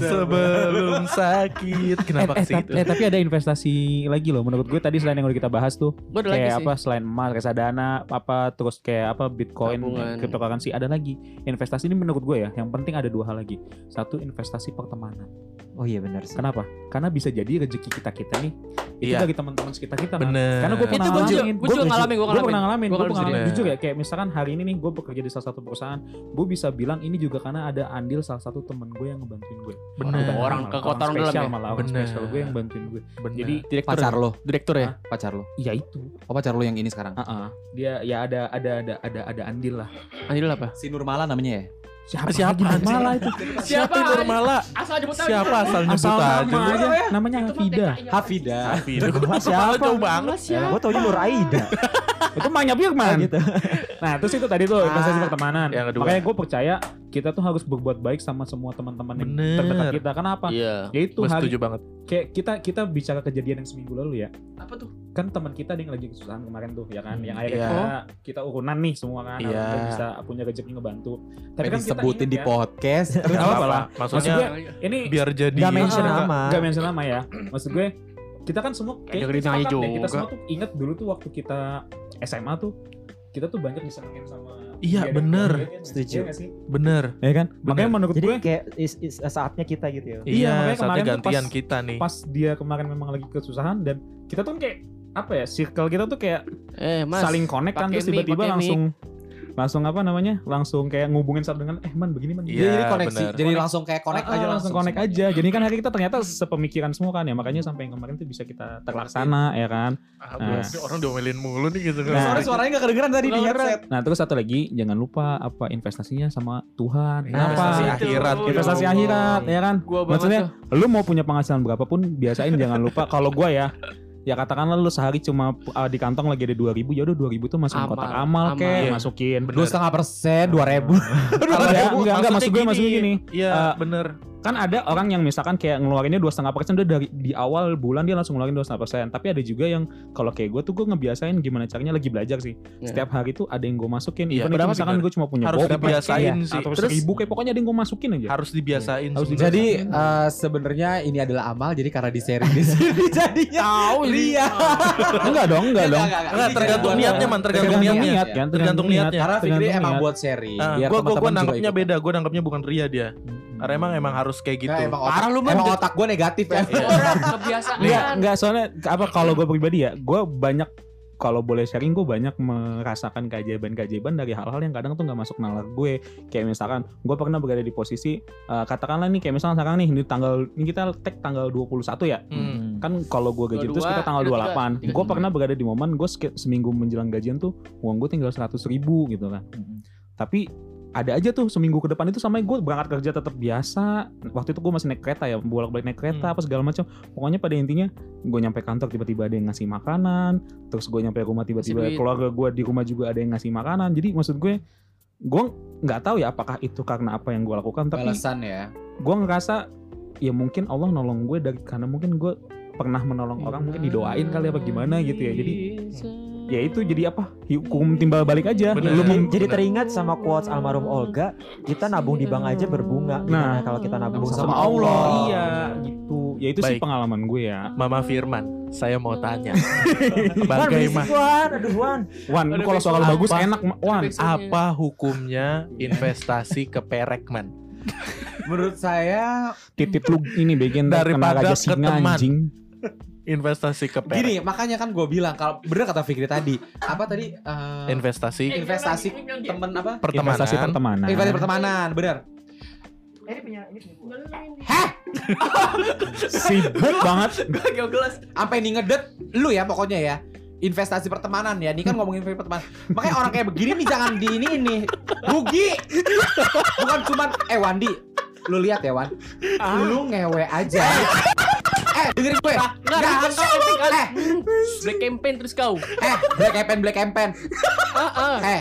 Speaker 2: Sebelum sakit. Kenapa
Speaker 1: eh,
Speaker 2: sih
Speaker 1: tap-
Speaker 2: gitu?
Speaker 1: eh, tapi ada investasi lagi loh menurut gue tadi selain yang udah kita bahas tuh
Speaker 6: Gue ada lagi
Speaker 1: kayak
Speaker 6: sih.
Speaker 1: apa selain emas reksadana apa terus kayak apa bitcoin
Speaker 6: Tabungan.
Speaker 1: cryptocurrency ada lagi investasi ini menurut gue ya yang penting ada dua hal lagi satu investasi pertemanan
Speaker 5: Oh iya benar sih.
Speaker 1: kenapa karena bisa jadi rezeki kita kita nih itu
Speaker 2: Iya.
Speaker 1: dari teman-teman sekitar kita Nan.
Speaker 2: Bener.
Speaker 1: eh, Karena gue pernah
Speaker 6: Itu gua juga-
Speaker 1: ngalamin,
Speaker 6: gua juga ngalamin, gua
Speaker 1: Gue pernah ngalamin, gue
Speaker 6: ngalamin. Gua
Speaker 1: pernah
Speaker 6: ngalamin
Speaker 1: ngalamin
Speaker 2: sendiri.
Speaker 1: jujur ya. Kayak misalkan hari ini nih gue bekerja di salah satu perusahaan, gue bisa bilang ini juga karena ada andil salah satu temen gue yang ngebantuin gue.
Speaker 2: Bener.
Speaker 1: Bukan
Speaker 6: Orang
Speaker 1: malah,
Speaker 6: kekotoran dalam
Speaker 1: spesial
Speaker 6: ya?
Speaker 1: malah orang
Speaker 2: Bener.
Speaker 1: spesial gue yang bantuin gue.
Speaker 2: Bener.
Speaker 1: Jadi
Speaker 6: Direktur.
Speaker 3: pacar lo,
Speaker 6: Direktur ya.
Speaker 3: pacar lo.
Speaker 1: ya itu,
Speaker 3: Oh pacar lo yang ini sekarang.
Speaker 1: Ah, ah. dia ya ada ada ada ada ada andil lah.
Speaker 6: Ah, Andil apa?
Speaker 3: Si Nurmala namanya ya.
Speaker 1: Siapa
Speaker 2: Siapa
Speaker 1: lagi?
Speaker 2: anjing?
Speaker 1: Malah itu
Speaker 2: siapa
Speaker 6: Siapa?
Speaker 2: Nurmala?
Speaker 6: Asal nyebut aja.
Speaker 2: Siapa asal nyebut
Speaker 1: asal
Speaker 2: aja?
Speaker 1: nama aja, namanya Hafida.
Speaker 3: Hafida.
Speaker 5: Gua
Speaker 2: Malah
Speaker 5: siapa?
Speaker 2: jauh banget.
Speaker 5: Ya, gua taunya Nur Aida
Speaker 1: itu mahnya Birman.
Speaker 5: gitu.
Speaker 1: Nah, terus itu tadi tuh investasi pertemanan.
Speaker 2: yang kedua.
Speaker 1: Makanya gue percaya kita tuh harus berbuat baik sama semua teman-teman yang
Speaker 2: Bener.
Speaker 1: terdekat kita. Kenapa?
Speaker 6: Iya.
Speaker 1: Yaitu
Speaker 2: Gue
Speaker 1: hari
Speaker 2: setuju banget.
Speaker 1: kayak kita kita bicara kejadian yang seminggu lalu ya
Speaker 6: Apa tuh?
Speaker 1: kan teman kita ada yang lagi kesusahan kemarin tuh ya kan
Speaker 2: Hmm,
Speaker 1: yang akhirnya
Speaker 2: iya.
Speaker 1: kita, kita urunan nih semua kan
Speaker 2: Iya.
Speaker 1: alhamdulillah bisa punya rezeki ngebantu tapi kan kita
Speaker 3: disebutin
Speaker 1: ingat
Speaker 3: di
Speaker 1: ya,
Speaker 3: podcast.
Speaker 1: nggak apa-apa lah
Speaker 2: Maksudnya
Speaker 1: Maksud ini
Speaker 2: biar jadi
Speaker 5: Gak mention
Speaker 1: Ah,
Speaker 5: nama.
Speaker 1: nggak mention nama ya maksud gue kita kan semua kayak
Speaker 6: dengerin
Speaker 1: kita sepakat
Speaker 6: aja
Speaker 1: deh, kita
Speaker 6: juga.
Speaker 1: semua tuh inget dulu tuh waktu kita SMA tuh kita tuh banyak disenengin sama
Speaker 2: Iya,
Speaker 1: kejadian-
Speaker 2: bener.
Speaker 1: kejadian,
Speaker 5: Setuju.
Speaker 1: iya nggak sih?
Speaker 2: bener.
Speaker 1: ya kan makanya menurut
Speaker 5: Jadi
Speaker 1: gue
Speaker 5: kayak is- is- saatnya kita gitu ya.
Speaker 1: Iya,
Speaker 2: Iya,
Speaker 1: makanya
Speaker 2: saatnya
Speaker 1: kemarin tuh
Speaker 2: gantian
Speaker 1: pas-
Speaker 2: kita nih.
Speaker 1: pas dia kemarin memang lagi kesusahan dan kita tuh kayak apa ya circle kita tuh kayak
Speaker 6: Eh, Mas.
Speaker 1: saling connect kan
Speaker 6: pakai
Speaker 1: terus
Speaker 6: mic,
Speaker 1: tiba-tiba
Speaker 6: pakai
Speaker 1: langsung langsung apa namanya langsung kayak ngubungin satu dengan eh man begini man
Speaker 2: Iya,
Speaker 3: Jadi, jadi koneksi.
Speaker 2: bener.
Speaker 3: Jadi langsung kayak connect
Speaker 1: Ah,
Speaker 3: aja
Speaker 1: langsung connect
Speaker 3: semuanya.
Speaker 1: aja jadi kan hari kita ternyata sepemikiran semua kan ya makanya sampai yang kemarin tuh bisa kita terlaksana ya kan
Speaker 2: Ah,
Speaker 1: Nah.
Speaker 2: ini orang diomelin mulu nih gitu.
Speaker 1: Nah.
Speaker 3: Sorry suaranya gak kedengeran tadi di headset.
Speaker 1: nah terus satu lagi jangan lupa apa investasinya sama Tuhan
Speaker 2: Nah, investasi
Speaker 1: kenapa
Speaker 2: akhirat. gitu.
Speaker 1: investasi
Speaker 6: Ya Allah.
Speaker 1: akhirat ya kan
Speaker 6: Gua banget
Speaker 1: maksudnya
Speaker 6: tuh.
Speaker 1: lu mau punya penghasilan berapapun biasain jangan lupa kalau gua ya ya katakanlah lu sehari cuma uh, di kantong lagi ada 2000 ya udah 2000 tuh masukin
Speaker 6: Amal,
Speaker 1: kotak amal,
Speaker 6: amal.
Speaker 1: kek
Speaker 2: Iya.
Speaker 1: masukin
Speaker 2: Bener.
Speaker 3: Dua setengah persen, dua ribu.
Speaker 1: Kalau ya, enggak, enggak, maksud gue,
Speaker 2: maksudnya
Speaker 1: maksud gue gini.
Speaker 2: Iya,
Speaker 1: Eh,
Speaker 2: bener.
Speaker 1: kan ada orang yang misalkan kayak ngeluarinnya dua setengah persen udah dari di awal bulan dia langsung ngeluarin dua setengah persen tapi ada juga yang kalau kayak gue tuh gue ngebiasain gimana caranya lagi belajar sih
Speaker 6: Iya.
Speaker 1: setiap hari tuh ada yang gue masukin
Speaker 2: Iya,
Speaker 1: even itu
Speaker 2: berapa
Speaker 1: misalkan
Speaker 2: bener?
Speaker 1: gue cuma punya
Speaker 2: Harus
Speaker 1: bokep,
Speaker 2: dibiasain
Speaker 1: kayak,
Speaker 2: sih.
Speaker 1: atau
Speaker 2: Terus-
Speaker 1: seribu kayak pokoknya ada yang gue masukin aja
Speaker 2: Harus dibiasain.
Speaker 1: Iya. Harus
Speaker 2: sih.
Speaker 1: dibiasain.
Speaker 3: Jadi eh, sebenarnya ini adalah amal. Jadi karena di sharing di sini jadinya. Iya.
Speaker 6: Tahu
Speaker 2: Oh,
Speaker 3: Ria.
Speaker 1: enggak dong enggak dong
Speaker 2: Enggak, tergantung niatnya, Man. Tergantung
Speaker 1: tergantung
Speaker 2: niatnya.
Speaker 1: niat kan
Speaker 2: Tergantung niatnya.
Speaker 3: ya. Karena Fikri
Speaker 1: tergantung
Speaker 3: emang
Speaker 1: niat.
Speaker 3: buat sharing.
Speaker 2: Ah, gua
Speaker 3: biar
Speaker 2: gua gua
Speaker 3: teman-teman Iya, juga
Speaker 2: nangkepnya
Speaker 3: ikut.
Speaker 2: beda, gua nangkepnya bukan Ria dia. Karena emang emang harus kayak gitu.
Speaker 3: Nggak, emang otak,
Speaker 6: Parah lu, Man.
Speaker 3: Emang otak
Speaker 2: Iya.
Speaker 3: gue negatif ya.
Speaker 1: Iya.
Speaker 6: Orang Iya. kebiasaan.
Speaker 1: Enggak, enggak soalnya apa kalau gue pribadi ya, gue ya, banyak kalau boleh sharing gue banyak merasakan keajaiban-keajaiban dari hal-hal yang kadang tuh nggak masuk nalar gue kayak misalkan gue pernah berada di posisi eh, katakanlah nih kayak misalkan sekarang nih di tanggal ini kita tag tanggal 21 ya
Speaker 2: Hmm.
Speaker 1: kan kalau gue gajian itu
Speaker 6: 22,
Speaker 1: sekitar tanggal 28
Speaker 6: 23,
Speaker 1: gue pernah berada di momen gue seminggu menjelang gajian tuh uang gue tinggal 100 ribu gitu kan tapi ada aja tuh seminggu ke depan itu sampai gue berangkat kerja tetap biasa waktu itu gue masih naik kereta ya bolak balik naik kereta
Speaker 2: Hmm.
Speaker 1: apa segala macam pokoknya pada intinya gue nyampe kantor tiba-tiba ada yang ngasih makanan terus gue nyampe rumah tiba-tiba
Speaker 6: Ngasih duit.
Speaker 1: keluarga gue di rumah juga ada yang ngasih makanan jadi maksud gue gue nggak tahu ya apakah itu karena apa yang gue lakukan tapi
Speaker 3: Balasan ya.
Speaker 1: gue ngerasa ya mungkin Allah nolong gue dari karena mungkin gue pernah menolong orang mungkin
Speaker 2: Iya.
Speaker 1: didoain kali apa gimana gitu ya jadi ya itu jadi apa hukum timbal balik aja
Speaker 2: Bener.
Speaker 1: Lu mem-
Speaker 5: Jadi teringat sama quotes almarhum Olga, kita nabung di bank aja berbunga.
Speaker 1: Nah.
Speaker 5: Gimana kalau kita nabung
Speaker 1: sama
Speaker 5: sama,
Speaker 1: Allah.
Speaker 5: Allah?
Speaker 1: Iya, gitu. Ya itu sih
Speaker 2: Baik.
Speaker 1: pengalaman gue ya.
Speaker 2: Mama Firman, saya mau tanya.
Speaker 5: Wan,
Speaker 2: Bagaimana
Speaker 5: berisik, Wan. Aduh, Wan.
Speaker 1: Wan, lu
Speaker 6: Ada
Speaker 1: kalau soal
Speaker 6: backsound.
Speaker 1: bagus
Speaker 2: Apa?
Speaker 1: enak Ma- Wan.
Speaker 6: backsound.
Speaker 2: apa hukumnya investasi ke perekman?
Speaker 3: Menurut saya
Speaker 1: Titit lu ini bikin
Speaker 2: Daripada
Speaker 1: raja
Speaker 2: ke
Speaker 1: singa
Speaker 2: teman.
Speaker 1: anjing.
Speaker 2: Investasi ke perek.
Speaker 3: gini, makanya kan gue bilang kalau bener kata Fikri tadi, apa tadi eh,
Speaker 2: investasi
Speaker 3: investasi temen apa?
Speaker 2: pertemanan.
Speaker 1: Investasi pertemanan.
Speaker 3: Investasi pertemanan, bener.
Speaker 1: Sibuk banget.
Speaker 3: Sampai nih ngedet lu ya pokoknya ya. Investasi pertemanan ya, ini kan ngomongin investasi pertemanan. Makanya orang kayak begini nih jangan di ini ini. Rugi. Bukan cuman eh Wandi, lu lihat ya Wan. Lu ngewe aja. eh dengerin gue.
Speaker 6: Nggak,
Speaker 3: Nggak,
Speaker 6: itu kau, itu kau.
Speaker 3: eh,
Speaker 6: Black campaign terus kau.
Speaker 3: eh, black campaign, black campaign.
Speaker 6: Ah, ah.
Speaker 3: Eh,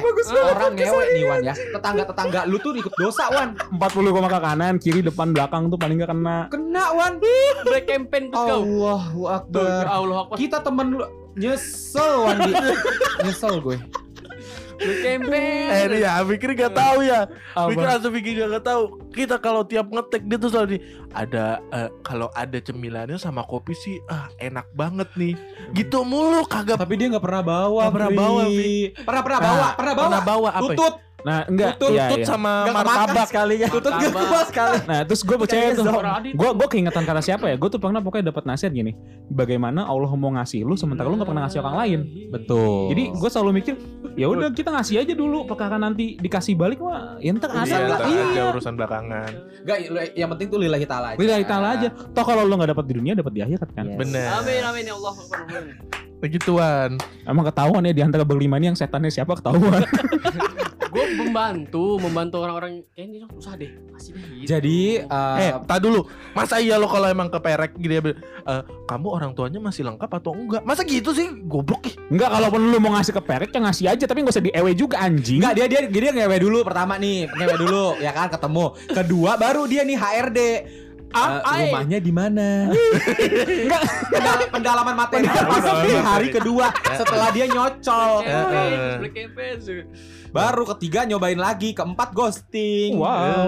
Speaker 3: orang ngewe nih Wan ya. Tetangga-tetangga lu tuh ikut dosa Wan.
Speaker 1: 40 koma ke kanan, kiri, depan, belakang tuh paling gak kena.
Speaker 3: Kena Wan.
Speaker 6: Black campaign terus kau.
Speaker 3: Allahu
Speaker 6: Tuh,
Speaker 3: Akbar.
Speaker 6: Allah Akbar.
Speaker 3: Kita temen lu nyesel Wandi. nyesel gue.
Speaker 6: Black campaign.
Speaker 2: Eh ini
Speaker 6: terus.
Speaker 2: ya, Fikri gak tahu ya.
Speaker 1: Apa?
Speaker 2: Fikri langsung Fikri gak, gak tahu. Kita kalau tiap ngetek dia tuh selalu di, ada eh, kalau ada cemilannya sama kopi sih ah enak banget nih. Gitu mulu kagak
Speaker 3: Tapi dia nggak pernah bawa.
Speaker 2: Nggak pernah
Speaker 3: Bri.
Speaker 2: bawa, Bri.
Speaker 3: Pernah pernah bawa, Nah, pernah bawa.
Speaker 2: pernah bawa apa? ya?
Speaker 3: Tutut,
Speaker 1: Nah, enggak.
Speaker 2: Tutut
Speaker 1: Iya, iya.
Speaker 2: sama
Speaker 3: Nggak kemakan
Speaker 2: martabak.
Speaker 5: sekali ya.
Speaker 3: tutut gak
Speaker 6: Martabak.
Speaker 3: keluar sekali.
Speaker 1: Nah, terus gue percaya
Speaker 6: Kayaknya
Speaker 1: tuh.
Speaker 6: Zohor Adi
Speaker 1: Gue gue keingetan kata siapa ya? Gue tuh pernah pokoknya dapat nasihat gini. Bagaimana Allah mau ngasih lu sementara lu gak pernah ngasih orang lain.
Speaker 3: Betul.
Speaker 1: Jadi gue selalu mikir, ya udah kita ngasih aja dulu. Perkara nanti dikasih balik mah, ya ntar ada
Speaker 2: Iya,
Speaker 1: lah.
Speaker 2: ntar
Speaker 1: Iya.
Speaker 2: aja urusan belakangan.
Speaker 3: Gak, yang penting tuh lillahi ta'ala aja. Gitu.
Speaker 1: Lillahi ta'ala aja. Toh kalau lo nggak dapat di dunia, dapat di akhirat kan.
Speaker 5: Yes.
Speaker 2: Bener.
Speaker 6: Amin amin ya Allah. Amin.
Speaker 2: Begituan.
Speaker 1: Emang ketahuan ya di antara berlima ini yang setannya siapa ketahuan.
Speaker 6: Gue membantu, membantu orang-orang kayaknya dong, usah deh. Kasih deh. gitu.
Speaker 3: Jadi eh,
Speaker 2: eh, tak dulu. Masa iya lo kalau emang keperek gitu ya, Bil? Eh, kamu orang tuanya masih lengkap atau enggak? Masa gitu sih? Goblok ih.
Speaker 1: Enggak, kalaupun lu mau ngasih ke perek ya ngasih aja, tapi nggak usah di ewe juga anjing.
Speaker 3: Enggak dia dia dia ngewe dulu pertama nih, ngewe dulu ya kan ketemu. Kedua baru dia nih HRD.
Speaker 6: Ah,
Speaker 3: Eh,
Speaker 6: ai.
Speaker 3: rumahnya di mana? Pendal- pendalaman materi
Speaker 2: Pendalaman
Speaker 3: Di
Speaker 2: materi.
Speaker 3: hari kedua setelah dia
Speaker 6: Black
Speaker 3: nyocol.
Speaker 6: campaign,
Speaker 2: Eh, eh.
Speaker 6: black campaign.
Speaker 3: Baru ketiga nyobain lagi, keempat
Speaker 2: Eh. Iya.
Speaker 3: ghosting.
Speaker 1: Wow.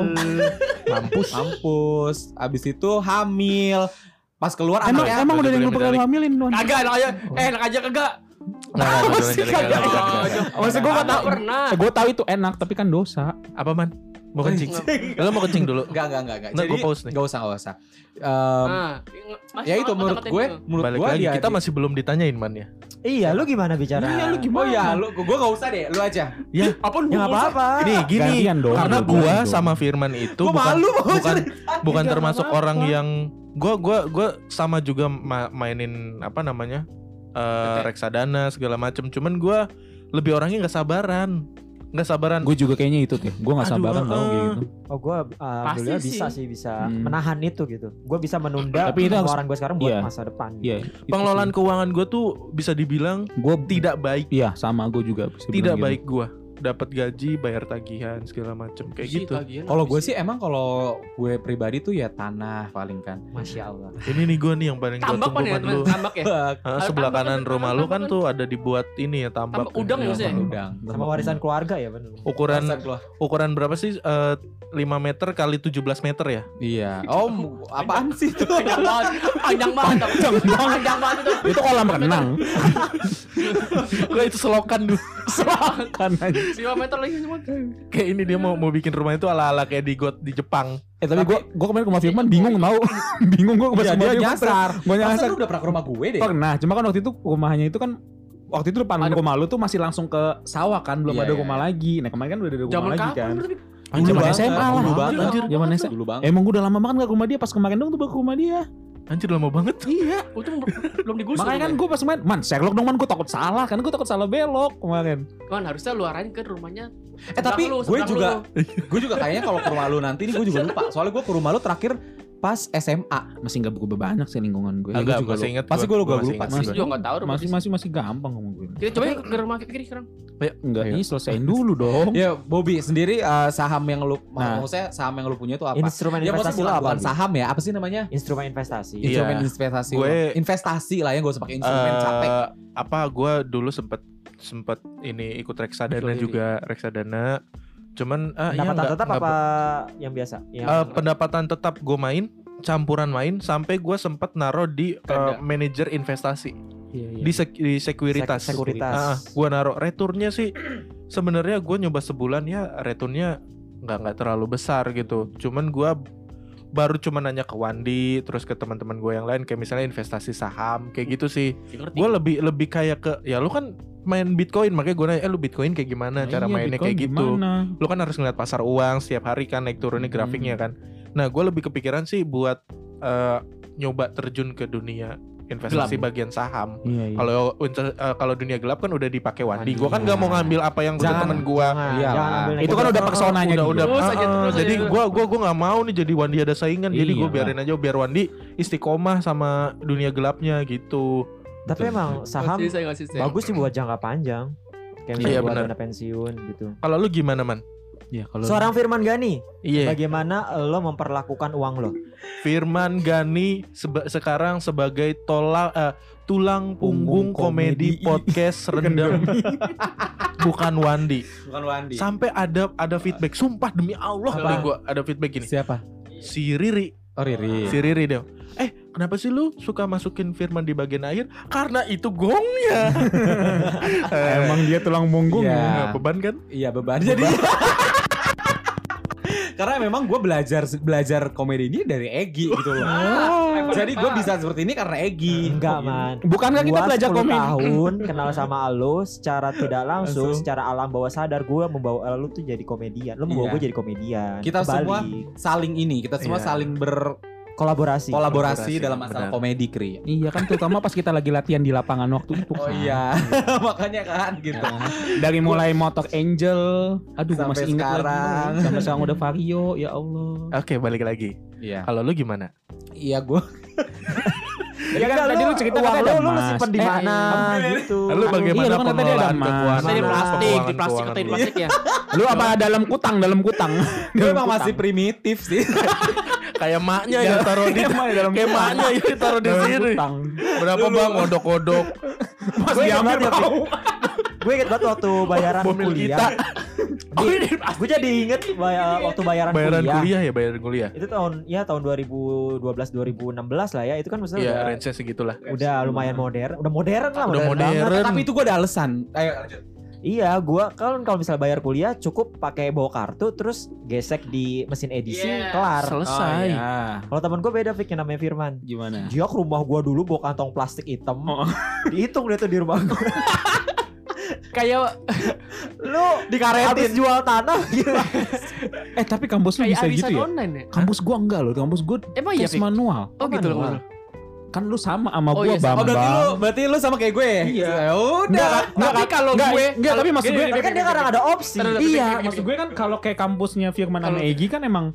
Speaker 3: Mampus. Mampus. Abis itu hamil. Pas keluar
Speaker 1: emang
Speaker 3: anaknya
Speaker 1: emang udah ada yang
Speaker 2: Boleh
Speaker 1: pernah
Speaker 2: medali.
Speaker 1: hamilin Don?
Speaker 6: Kagak enak aja. Eh enak aja kagak.
Speaker 2: Nah, nah, nah, jangan, jangan, jangan, jangan, jangan.
Speaker 1: Maksud gue gak
Speaker 6: Kagak
Speaker 1: tau.
Speaker 6: pernah.
Speaker 1: Gue tau itu enak, tapi kan dosa.
Speaker 2: Apa man? Mau kencing? Lo mau kencing dulu?
Speaker 3: Enggak, enggak, enggak, enggak.
Speaker 2: Nggak, gua pause nih.
Speaker 3: enggak usah, enggak usah. Ehm,
Speaker 6: Nah, masih
Speaker 3: ya itu
Speaker 6: sama
Speaker 3: menurut
Speaker 6: kata-kata
Speaker 3: gue,
Speaker 6: itu.
Speaker 3: menurut
Speaker 2: Balik
Speaker 3: gue
Speaker 2: lagi.
Speaker 3: dia
Speaker 2: Kita masih belum ditanyain man ya.
Speaker 5: Iya, lu gimana bicara?
Speaker 1: Iya, lu gimana?
Speaker 3: Oh ya, lu gue enggak usah deh, lu aja.
Speaker 6: Apaan
Speaker 5: Ya nggak
Speaker 6: gua-
Speaker 5: apa-apa.
Speaker 2: Nih gini,
Speaker 1: Gantian dong,
Speaker 2: karena
Speaker 1: dua-duanya
Speaker 2: gua
Speaker 1: dong.
Speaker 2: sama Firman itu
Speaker 3: Gua
Speaker 2: bukan
Speaker 3: malu mau
Speaker 2: bukan bukan
Speaker 1: Iya,
Speaker 2: termasuk
Speaker 1: nggak
Speaker 2: orang
Speaker 1: apa-apa.
Speaker 2: yang gua gua gua sama juga ma- mainin apa namanya eh, reksadana segala macem. Cuman gua lebih orangnya nggak sabaran, nggak sabaran.
Speaker 1: Gue juga kayaknya itu deh. Gue nggak
Speaker 2: Aduh,
Speaker 1: sabaran tau
Speaker 2: eh.
Speaker 1: kayak gitu.
Speaker 5: Oh gue alhamdulillah bisa sih bisa
Speaker 1: Hmm.
Speaker 5: menahan itu gitu. Gue bisa menunda
Speaker 1: Tapi itu harus-
Speaker 5: pengeluaran gue sekarang buat
Speaker 1: Iya.
Speaker 5: masa depan.
Speaker 1: Iya.
Speaker 2: Pengelolaan keuangan gua tuh bisa dibilang
Speaker 1: gue
Speaker 2: tidak baik,
Speaker 1: Iya, sama gue juga. bisa bilang
Speaker 2: tidak
Speaker 1: gitu.
Speaker 2: baik gua. Dapat gaji, bayar tagihan segala macem kayak
Speaker 6: Isi
Speaker 2: gitu.
Speaker 6: tagihan
Speaker 3: Kalau
Speaker 6: habis
Speaker 3: gue
Speaker 6: itu.
Speaker 3: sih emang kalau gue pribadi tuh ya tanah paling kan.
Speaker 5: Masya Allah.
Speaker 2: Ini nih gua nih yang paling gua
Speaker 6: tambak
Speaker 2: tunggu
Speaker 6: kan ya,
Speaker 2: man
Speaker 6: teman,
Speaker 2: lu.
Speaker 6: tambak ya.
Speaker 2: Hah,
Speaker 6: Ada
Speaker 2: sebelah
Speaker 6: tambak kan,
Speaker 2: kanan
Speaker 6: ada
Speaker 2: rumah lu
Speaker 6: tambak
Speaker 2: kan
Speaker 6: kan.
Speaker 2: tuh ada dibuat ini ya tambak.
Speaker 6: Tambak udang ya,
Speaker 3: Eh.
Speaker 6: Ustaz?
Speaker 3: Udang.
Speaker 5: Sama warisan keluarga ya benar.
Speaker 2: Ukuran
Speaker 3: Masa keluar-
Speaker 2: ukuran berapa sih? Eh, 5 meter kali 17 meter ya?
Speaker 3: Iya. Oh, mu- apaan sih itu?
Speaker 6: Panjang banget, panjang banget. Panjang banget. Panjang banget itu.
Speaker 1: Itu kolam renang.
Speaker 2: Gua itu selokan dulu.
Speaker 1: kan anjing.
Speaker 6: 5 meter lagi semua.
Speaker 2: Kayak ini dia mau mau bikin rumah itu ala-ala kayak di got di Jepang.
Speaker 1: Eh tapi gue gue kemarin ke rumah Firman bingung tau. bingung gue ke rumah
Speaker 3: Iya, dia
Speaker 1: Firman.
Speaker 3: nyasar.
Speaker 1: Gue
Speaker 3: Masa
Speaker 1: nyasar. nah,
Speaker 3: lu udah pernah ke rumah gue deh?
Speaker 1: Pernah, cuma kan waktu itu rumahnya itu kan waktu itu depan
Speaker 6: Ada-
Speaker 1: rumah lu tuh masih langsung ke sawah kan belum
Speaker 3: Iya,
Speaker 1: ada
Speaker 3: iya,
Speaker 1: rumah lagi nah kemarin kan udah ada rumah
Speaker 6: Zaman
Speaker 1: lagi
Speaker 6: kapan?
Speaker 1: kan
Speaker 6: Berarti
Speaker 1: Anjir,
Speaker 2: Dulu
Speaker 1: zaman
Speaker 2: banget,
Speaker 1: SMA lah
Speaker 2: dulu banget,
Speaker 1: anjir.
Speaker 2: anjir.
Speaker 1: zaman SMA
Speaker 3: Dulu banget.
Speaker 1: emang gue udah lama banget gak ke rumah dia pas kemarin dong tuh baru ke rumah dia
Speaker 2: Anjir lama banget.
Speaker 6: Iya, itu belum digusur.
Speaker 1: makanya kan gue pas main man Sherlock dong man gue takut salah kan gue takut salah belok kemarin
Speaker 6: kan harusnya lu arahin ke rumahnya.
Speaker 3: Eh tapi
Speaker 6: Seberang lu,
Speaker 3: gue
Speaker 6: seberang
Speaker 3: juga gue juga kayaknya kalau ke rumah lu nanti ini gue juga lupa. Soalnya gue ke rumah lu terakhir pas SMA.
Speaker 1: masih nggak berubah banyak sih lingkungan gue Gue
Speaker 2: Agak
Speaker 1: juga
Speaker 2: masih
Speaker 1: lo-
Speaker 2: inget.
Speaker 3: Pasti
Speaker 2: gua,
Speaker 3: gua Iya, lu
Speaker 2: gua
Speaker 3: gak
Speaker 2: masih
Speaker 3: lupa
Speaker 2: inget
Speaker 6: Masih
Speaker 2: gua.
Speaker 6: juga enggak tahu rumah
Speaker 1: masih
Speaker 6: sih.
Speaker 1: masih masih gampang ngomong gue
Speaker 6: Kita coba yuk ke rumah kita kiri sekarang.
Speaker 1: enggak ini selesaiin dulu dong
Speaker 3: Ya Bobby sendiri eh, saham yang lu
Speaker 1: Nah.
Speaker 3: maksudnya saham yang lu punya itu apa?
Speaker 5: Instrumen
Speaker 3: ya maksudnya
Speaker 5: investasi
Speaker 3: bukan,
Speaker 5: lah
Speaker 3: bukan
Speaker 5: Bang.
Speaker 3: saham ya, apa sih namanya?
Speaker 5: Instrumen investasi.
Speaker 2: Iya.
Speaker 3: Instrumen investasi. lu.
Speaker 2: Gue-
Speaker 3: investasi lah ya gak usah pakai instrumen
Speaker 2: Eh,
Speaker 3: capek.
Speaker 2: apa gue dulu sempet sempet ini ikut reksadana
Speaker 6: Jual diri.
Speaker 2: juga reksadana cuman ah, iya,
Speaker 5: Pendapatan
Speaker 2: nggak-
Speaker 5: tetap
Speaker 2: nggak
Speaker 5: apa yang biasa? Yang
Speaker 2: Eh, pendapatan tetap gue main campuran main sampai gue sempet naro di eh,
Speaker 6: Tenda.
Speaker 2: manajer investasi
Speaker 1: Iya, iya.
Speaker 2: di, sek- di sekuritas
Speaker 5: sek- sekuritas.
Speaker 2: Ah, gue naro returnnya sih sebenarnya gue nyoba sebulan ya returnnya nggak nggak terlalu besar gitu cuman gue baru cuma nanya ke Wandi terus ke teman-teman gue yang lain kayak misalnya investasi saham kayak gitu sih
Speaker 1: Iya.
Speaker 6: Ngerti.
Speaker 2: gue lebih lebih kayak ke ya lu kan main bitcoin makanya gue nanya eh lu bitcoin kayak
Speaker 1: Nah,
Speaker 2: gimana cara
Speaker 1: iya,
Speaker 2: mainnya
Speaker 1: Bitcoin
Speaker 2: kayak gitu
Speaker 1: gimana?
Speaker 2: lu kan harus ngeliat pasar uang setiap hari kan naik turunnya
Speaker 1: Hmm.
Speaker 2: grafiknya kan nah gue lebih kepikiran sih buat eh, nyoba terjun ke dunia investasi bagian saham
Speaker 1: iya iya
Speaker 2: kalau inter- eh, kalau dunia gelap kan udah dipakai Wandi
Speaker 5: Wandi,
Speaker 2: gue kan nggak mau
Speaker 5: iya.
Speaker 2: ngambil apa yang udah
Speaker 3: Jangan.
Speaker 2: temen gue
Speaker 5: Nah,
Speaker 3: Iya
Speaker 5: jangan
Speaker 3: lah.
Speaker 5: ambil
Speaker 1: itu kan
Speaker 5: negatif.
Speaker 1: udah personanya
Speaker 2: udah
Speaker 1: dia
Speaker 2: udah
Speaker 6: Terus aja,
Speaker 2: Ah,
Speaker 6: terus
Speaker 2: jadi
Speaker 6: aja.
Speaker 2: gue gua gua nggak mau nih jadi Wandi ada saingan jadi gue
Speaker 1: Iyalah.
Speaker 2: biarin aja biar Wandi istiqomah sama dunia gelapnya gitu
Speaker 5: Tapi emang saham
Speaker 6: Ngasih saya, ngasih saya.
Speaker 5: bagus sih buat jangka panjang. Kayak
Speaker 2: Iya,
Speaker 5: misalnya buat
Speaker 2: benar.
Speaker 5: dana pensiun gitu.
Speaker 2: kalau lu gimana man
Speaker 1: ya kalau
Speaker 5: Seorang Firman Gani,
Speaker 2: iya
Speaker 5: bagaimana lo memperlakukan uang lo?
Speaker 2: Firman Gani seba- sekarang sebagai tola, eh, tulang punggung
Speaker 1: Punggung
Speaker 2: komedi,
Speaker 1: komedi.
Speaker 2: podcast rendam bukan Wandi.
Speaker 3: Bukan Wandi.
Speaker 2: Sampai ada ada feedback. Sumpah demi Allah
Speaker 3: Apa?
Speaker 2: kali gua ada feedback gini.
Speaker 3: Siapa?
Speaker 2: Si Riri,
Speaker 3: Oh Riri.
Speaker 2: si Riri deh. Eh, kenapa sih lu suka masukin Firman di bagian akhir? Karena itu gongnya. Eh,
Speaker 1: emang dia tulang punggung
Speaker 3: Iya.
Speaker 1: ya
Speaker 2: nah, beban kan?
Speaker 3: Iya beban. Jadi karena memang gue belajar belajar komedi ini dari Egi gitu loh. Jadi gue bisa seperti ini karena Egi.
Speaker 5: Enggak, man.
Speaker 1: bukankah kita
Speaker 5: Gua
Speaker 1: belajar
Speaker 5: 10
Speaker 1: komen
Speaker 5: tahun kenal sama lo secara tidak langsung,
Speaker 1: Langsung.
Speaker 5: secara alam bawah sadar gue membawa lo tuh jadi komedian. Lo membawa
Speaker 3: Iya.
Speaker 5: gue jadi komedian.
Speaker 3: Kita semua
Speaker 5: Kebalik.
Speaker 3: saling ini, kita semua
Speaker 2: Iya.
Speaker 3: saling berkolaborasi
Speaker 5: kolaborasi.
Speaker 2: Kolaborasi,
Speaker 3: dalam masalah
Speaker 2: benar.
Speaker 3: komedi, Kri.
Speaker 1: Iya kan terutama pas kita lagi latihan di lapangan waktu itu kan.
Speaker 3: Oh iya, makanya kan gitu.
Speaker 1: Dari mulai motor Angel, aduh gua
Speaker 3: Sampai
Speaker 1: masih ingat
Speaker 3: sekarang.
Speaker 1: lagi. Sampai sekarang udah Vario, ya Allah.
Speaker 2: Oke, balik lagi.
Speaker 3: Iya.
Speaker 2: Kalau lu gimana?
Speaker 3: Iya gue.
Speaker 1: Ya kan tadi lu cerita
Speaker 5: uang
Speaker 1: katanya ada
Speaker 5: lo, lo, lo
Speaker 1: emas.
Speaker 5: simpen di
Speaker 1: Eh,
Speaker 5: mana
Speaker 3: iya.
Speaker 5: gitu.
Speaker 2: Lu
Speaker 1: Iya,
Speaker 2: bagaimana
Speaker 1: lu kan katanya ada
Speaker 2: pengelolaan
Speaker 1: emas.
Speaker 2: keuangan?
Speaker 6: Tadi di
Speaker 2: lu?
Speaker 6: plastik, di
Speaker 2: Keuangan-
Speaker 6: plastik
Speaker 2: keuangan
Speaker 6: atau di
Speaker 2: lu?
Speaker 6: plastik ya.
Speaker 1: Lu apa dalam kutang, dalam kutang.
Speaker 3: Gue emang masih primitif sih.
Speaker 2: Kayak maknya ya taruh di
Speaker 1: dalam
Speaker 2: kayak maknya ya taruh di
Speaker 1: dalam
Speaker 2: sini.
Speaker 1: kutang.
Speaker 2: Berapa bang odok-odok
Speaker 1: Pas
Speaker 5: Gue
Speaker 1: diambil
Speaker 5: ingat banget,
Speaker 1: tahu.
Speaker 5: gue inget banget waktu bayaran
Speaker 2: Bomil kita
Speaker 5: kuliah. Gue jadi inget baya- waktu bayaran,
Speaker 2: Bayaran
Speaker 5: Kan kuliah.
Speaker 2: kuliah ya bayaran kuliah
Speaker 5: Itu tahun ya tahun 2012 2016 lah ya. Itu kan maksudnya
Speaker 2: Ya
Speaker 5: udah,
Speaker 2: range segitulah
Speaker 5: udah lumayan modern, udah modern lah
Speaker 2: Udah
Speaker 5: banget.
Speaker 2: modern
Speaker 3: Tapi itu gue ada alasan. Ayo lanjut.
Speaker 5: Iya, gua kan kalau misalnya bayar kuliah cukup pakai bawa kartu terus gesek di mesin edisi
Speaker 6: Yes.
Speaker 5: kelar.
Speaker 1: Oh,
Speaker 2: Selesai
Speaker 1: iya.
Speaker 5: Kalau temen gue beda Vicky namanya Firman.
Speaker 3: Nah.
Speaker 1: Gimana?
Speaker 5: Dia ke rumah gua dulu bawa kantong plastik hitam.
Speaker 1: Oh.
Speaker 5: Dihitung dia tuh di rumah gua.
Speaker 6: Kayak
Speaker 5: Lu dikaretin jual tanah gitu.
Speaker 1: Eh tapi kampus lu
Speaker 6: kayak
Speaker 1: bisa
Speaker 6: arisan
Speaker 1: gitu ya?
Speaker 6: online ya.
Speaker 1: Kampus gua enggak loh, kampus gua
Speaker 6: Emang iya,
Speaker 1: tes
Speaker 6: Fik?
Speaker 1: manual.
Speaker 6: Oh gitu loh.
Speaker 5: Manual.
Speaker 6: maksud lu.
Speaker 1: Kan lu sama sama
Speaker 6: Oh,
Speaker 1: gua
Speaker 6: iya, sama.
Speaker 3: Oh berarti lu,
Speaker 1: Bambang.
Speaker 3: berarti lu sama kayak gue.
Speaker 1: Iya.
Speaker 3: Ya udah.
Speaker 1: Enggak,
Speaker 6: Tapi kalau
Speaker 1: Enggak,
Speaker 6: gue
Speaker 1: enggak, tapi maksud
Speaker 6: gini,
Speaker 1: gue-
Speaker 6: gini,
Speaker 5: Tapi kan
Speaker 6: gini,
Speaker 5: dia kadang
Speaker 6: gini.
Speaker 5: ada opsi.
Speaker 6: Tadadada.
Speaker 1: Iya, maksud gue kan kalau kayak kampusnya Firman sama
Speaker 6: Kalau-
Speaker 1: Egi kan emang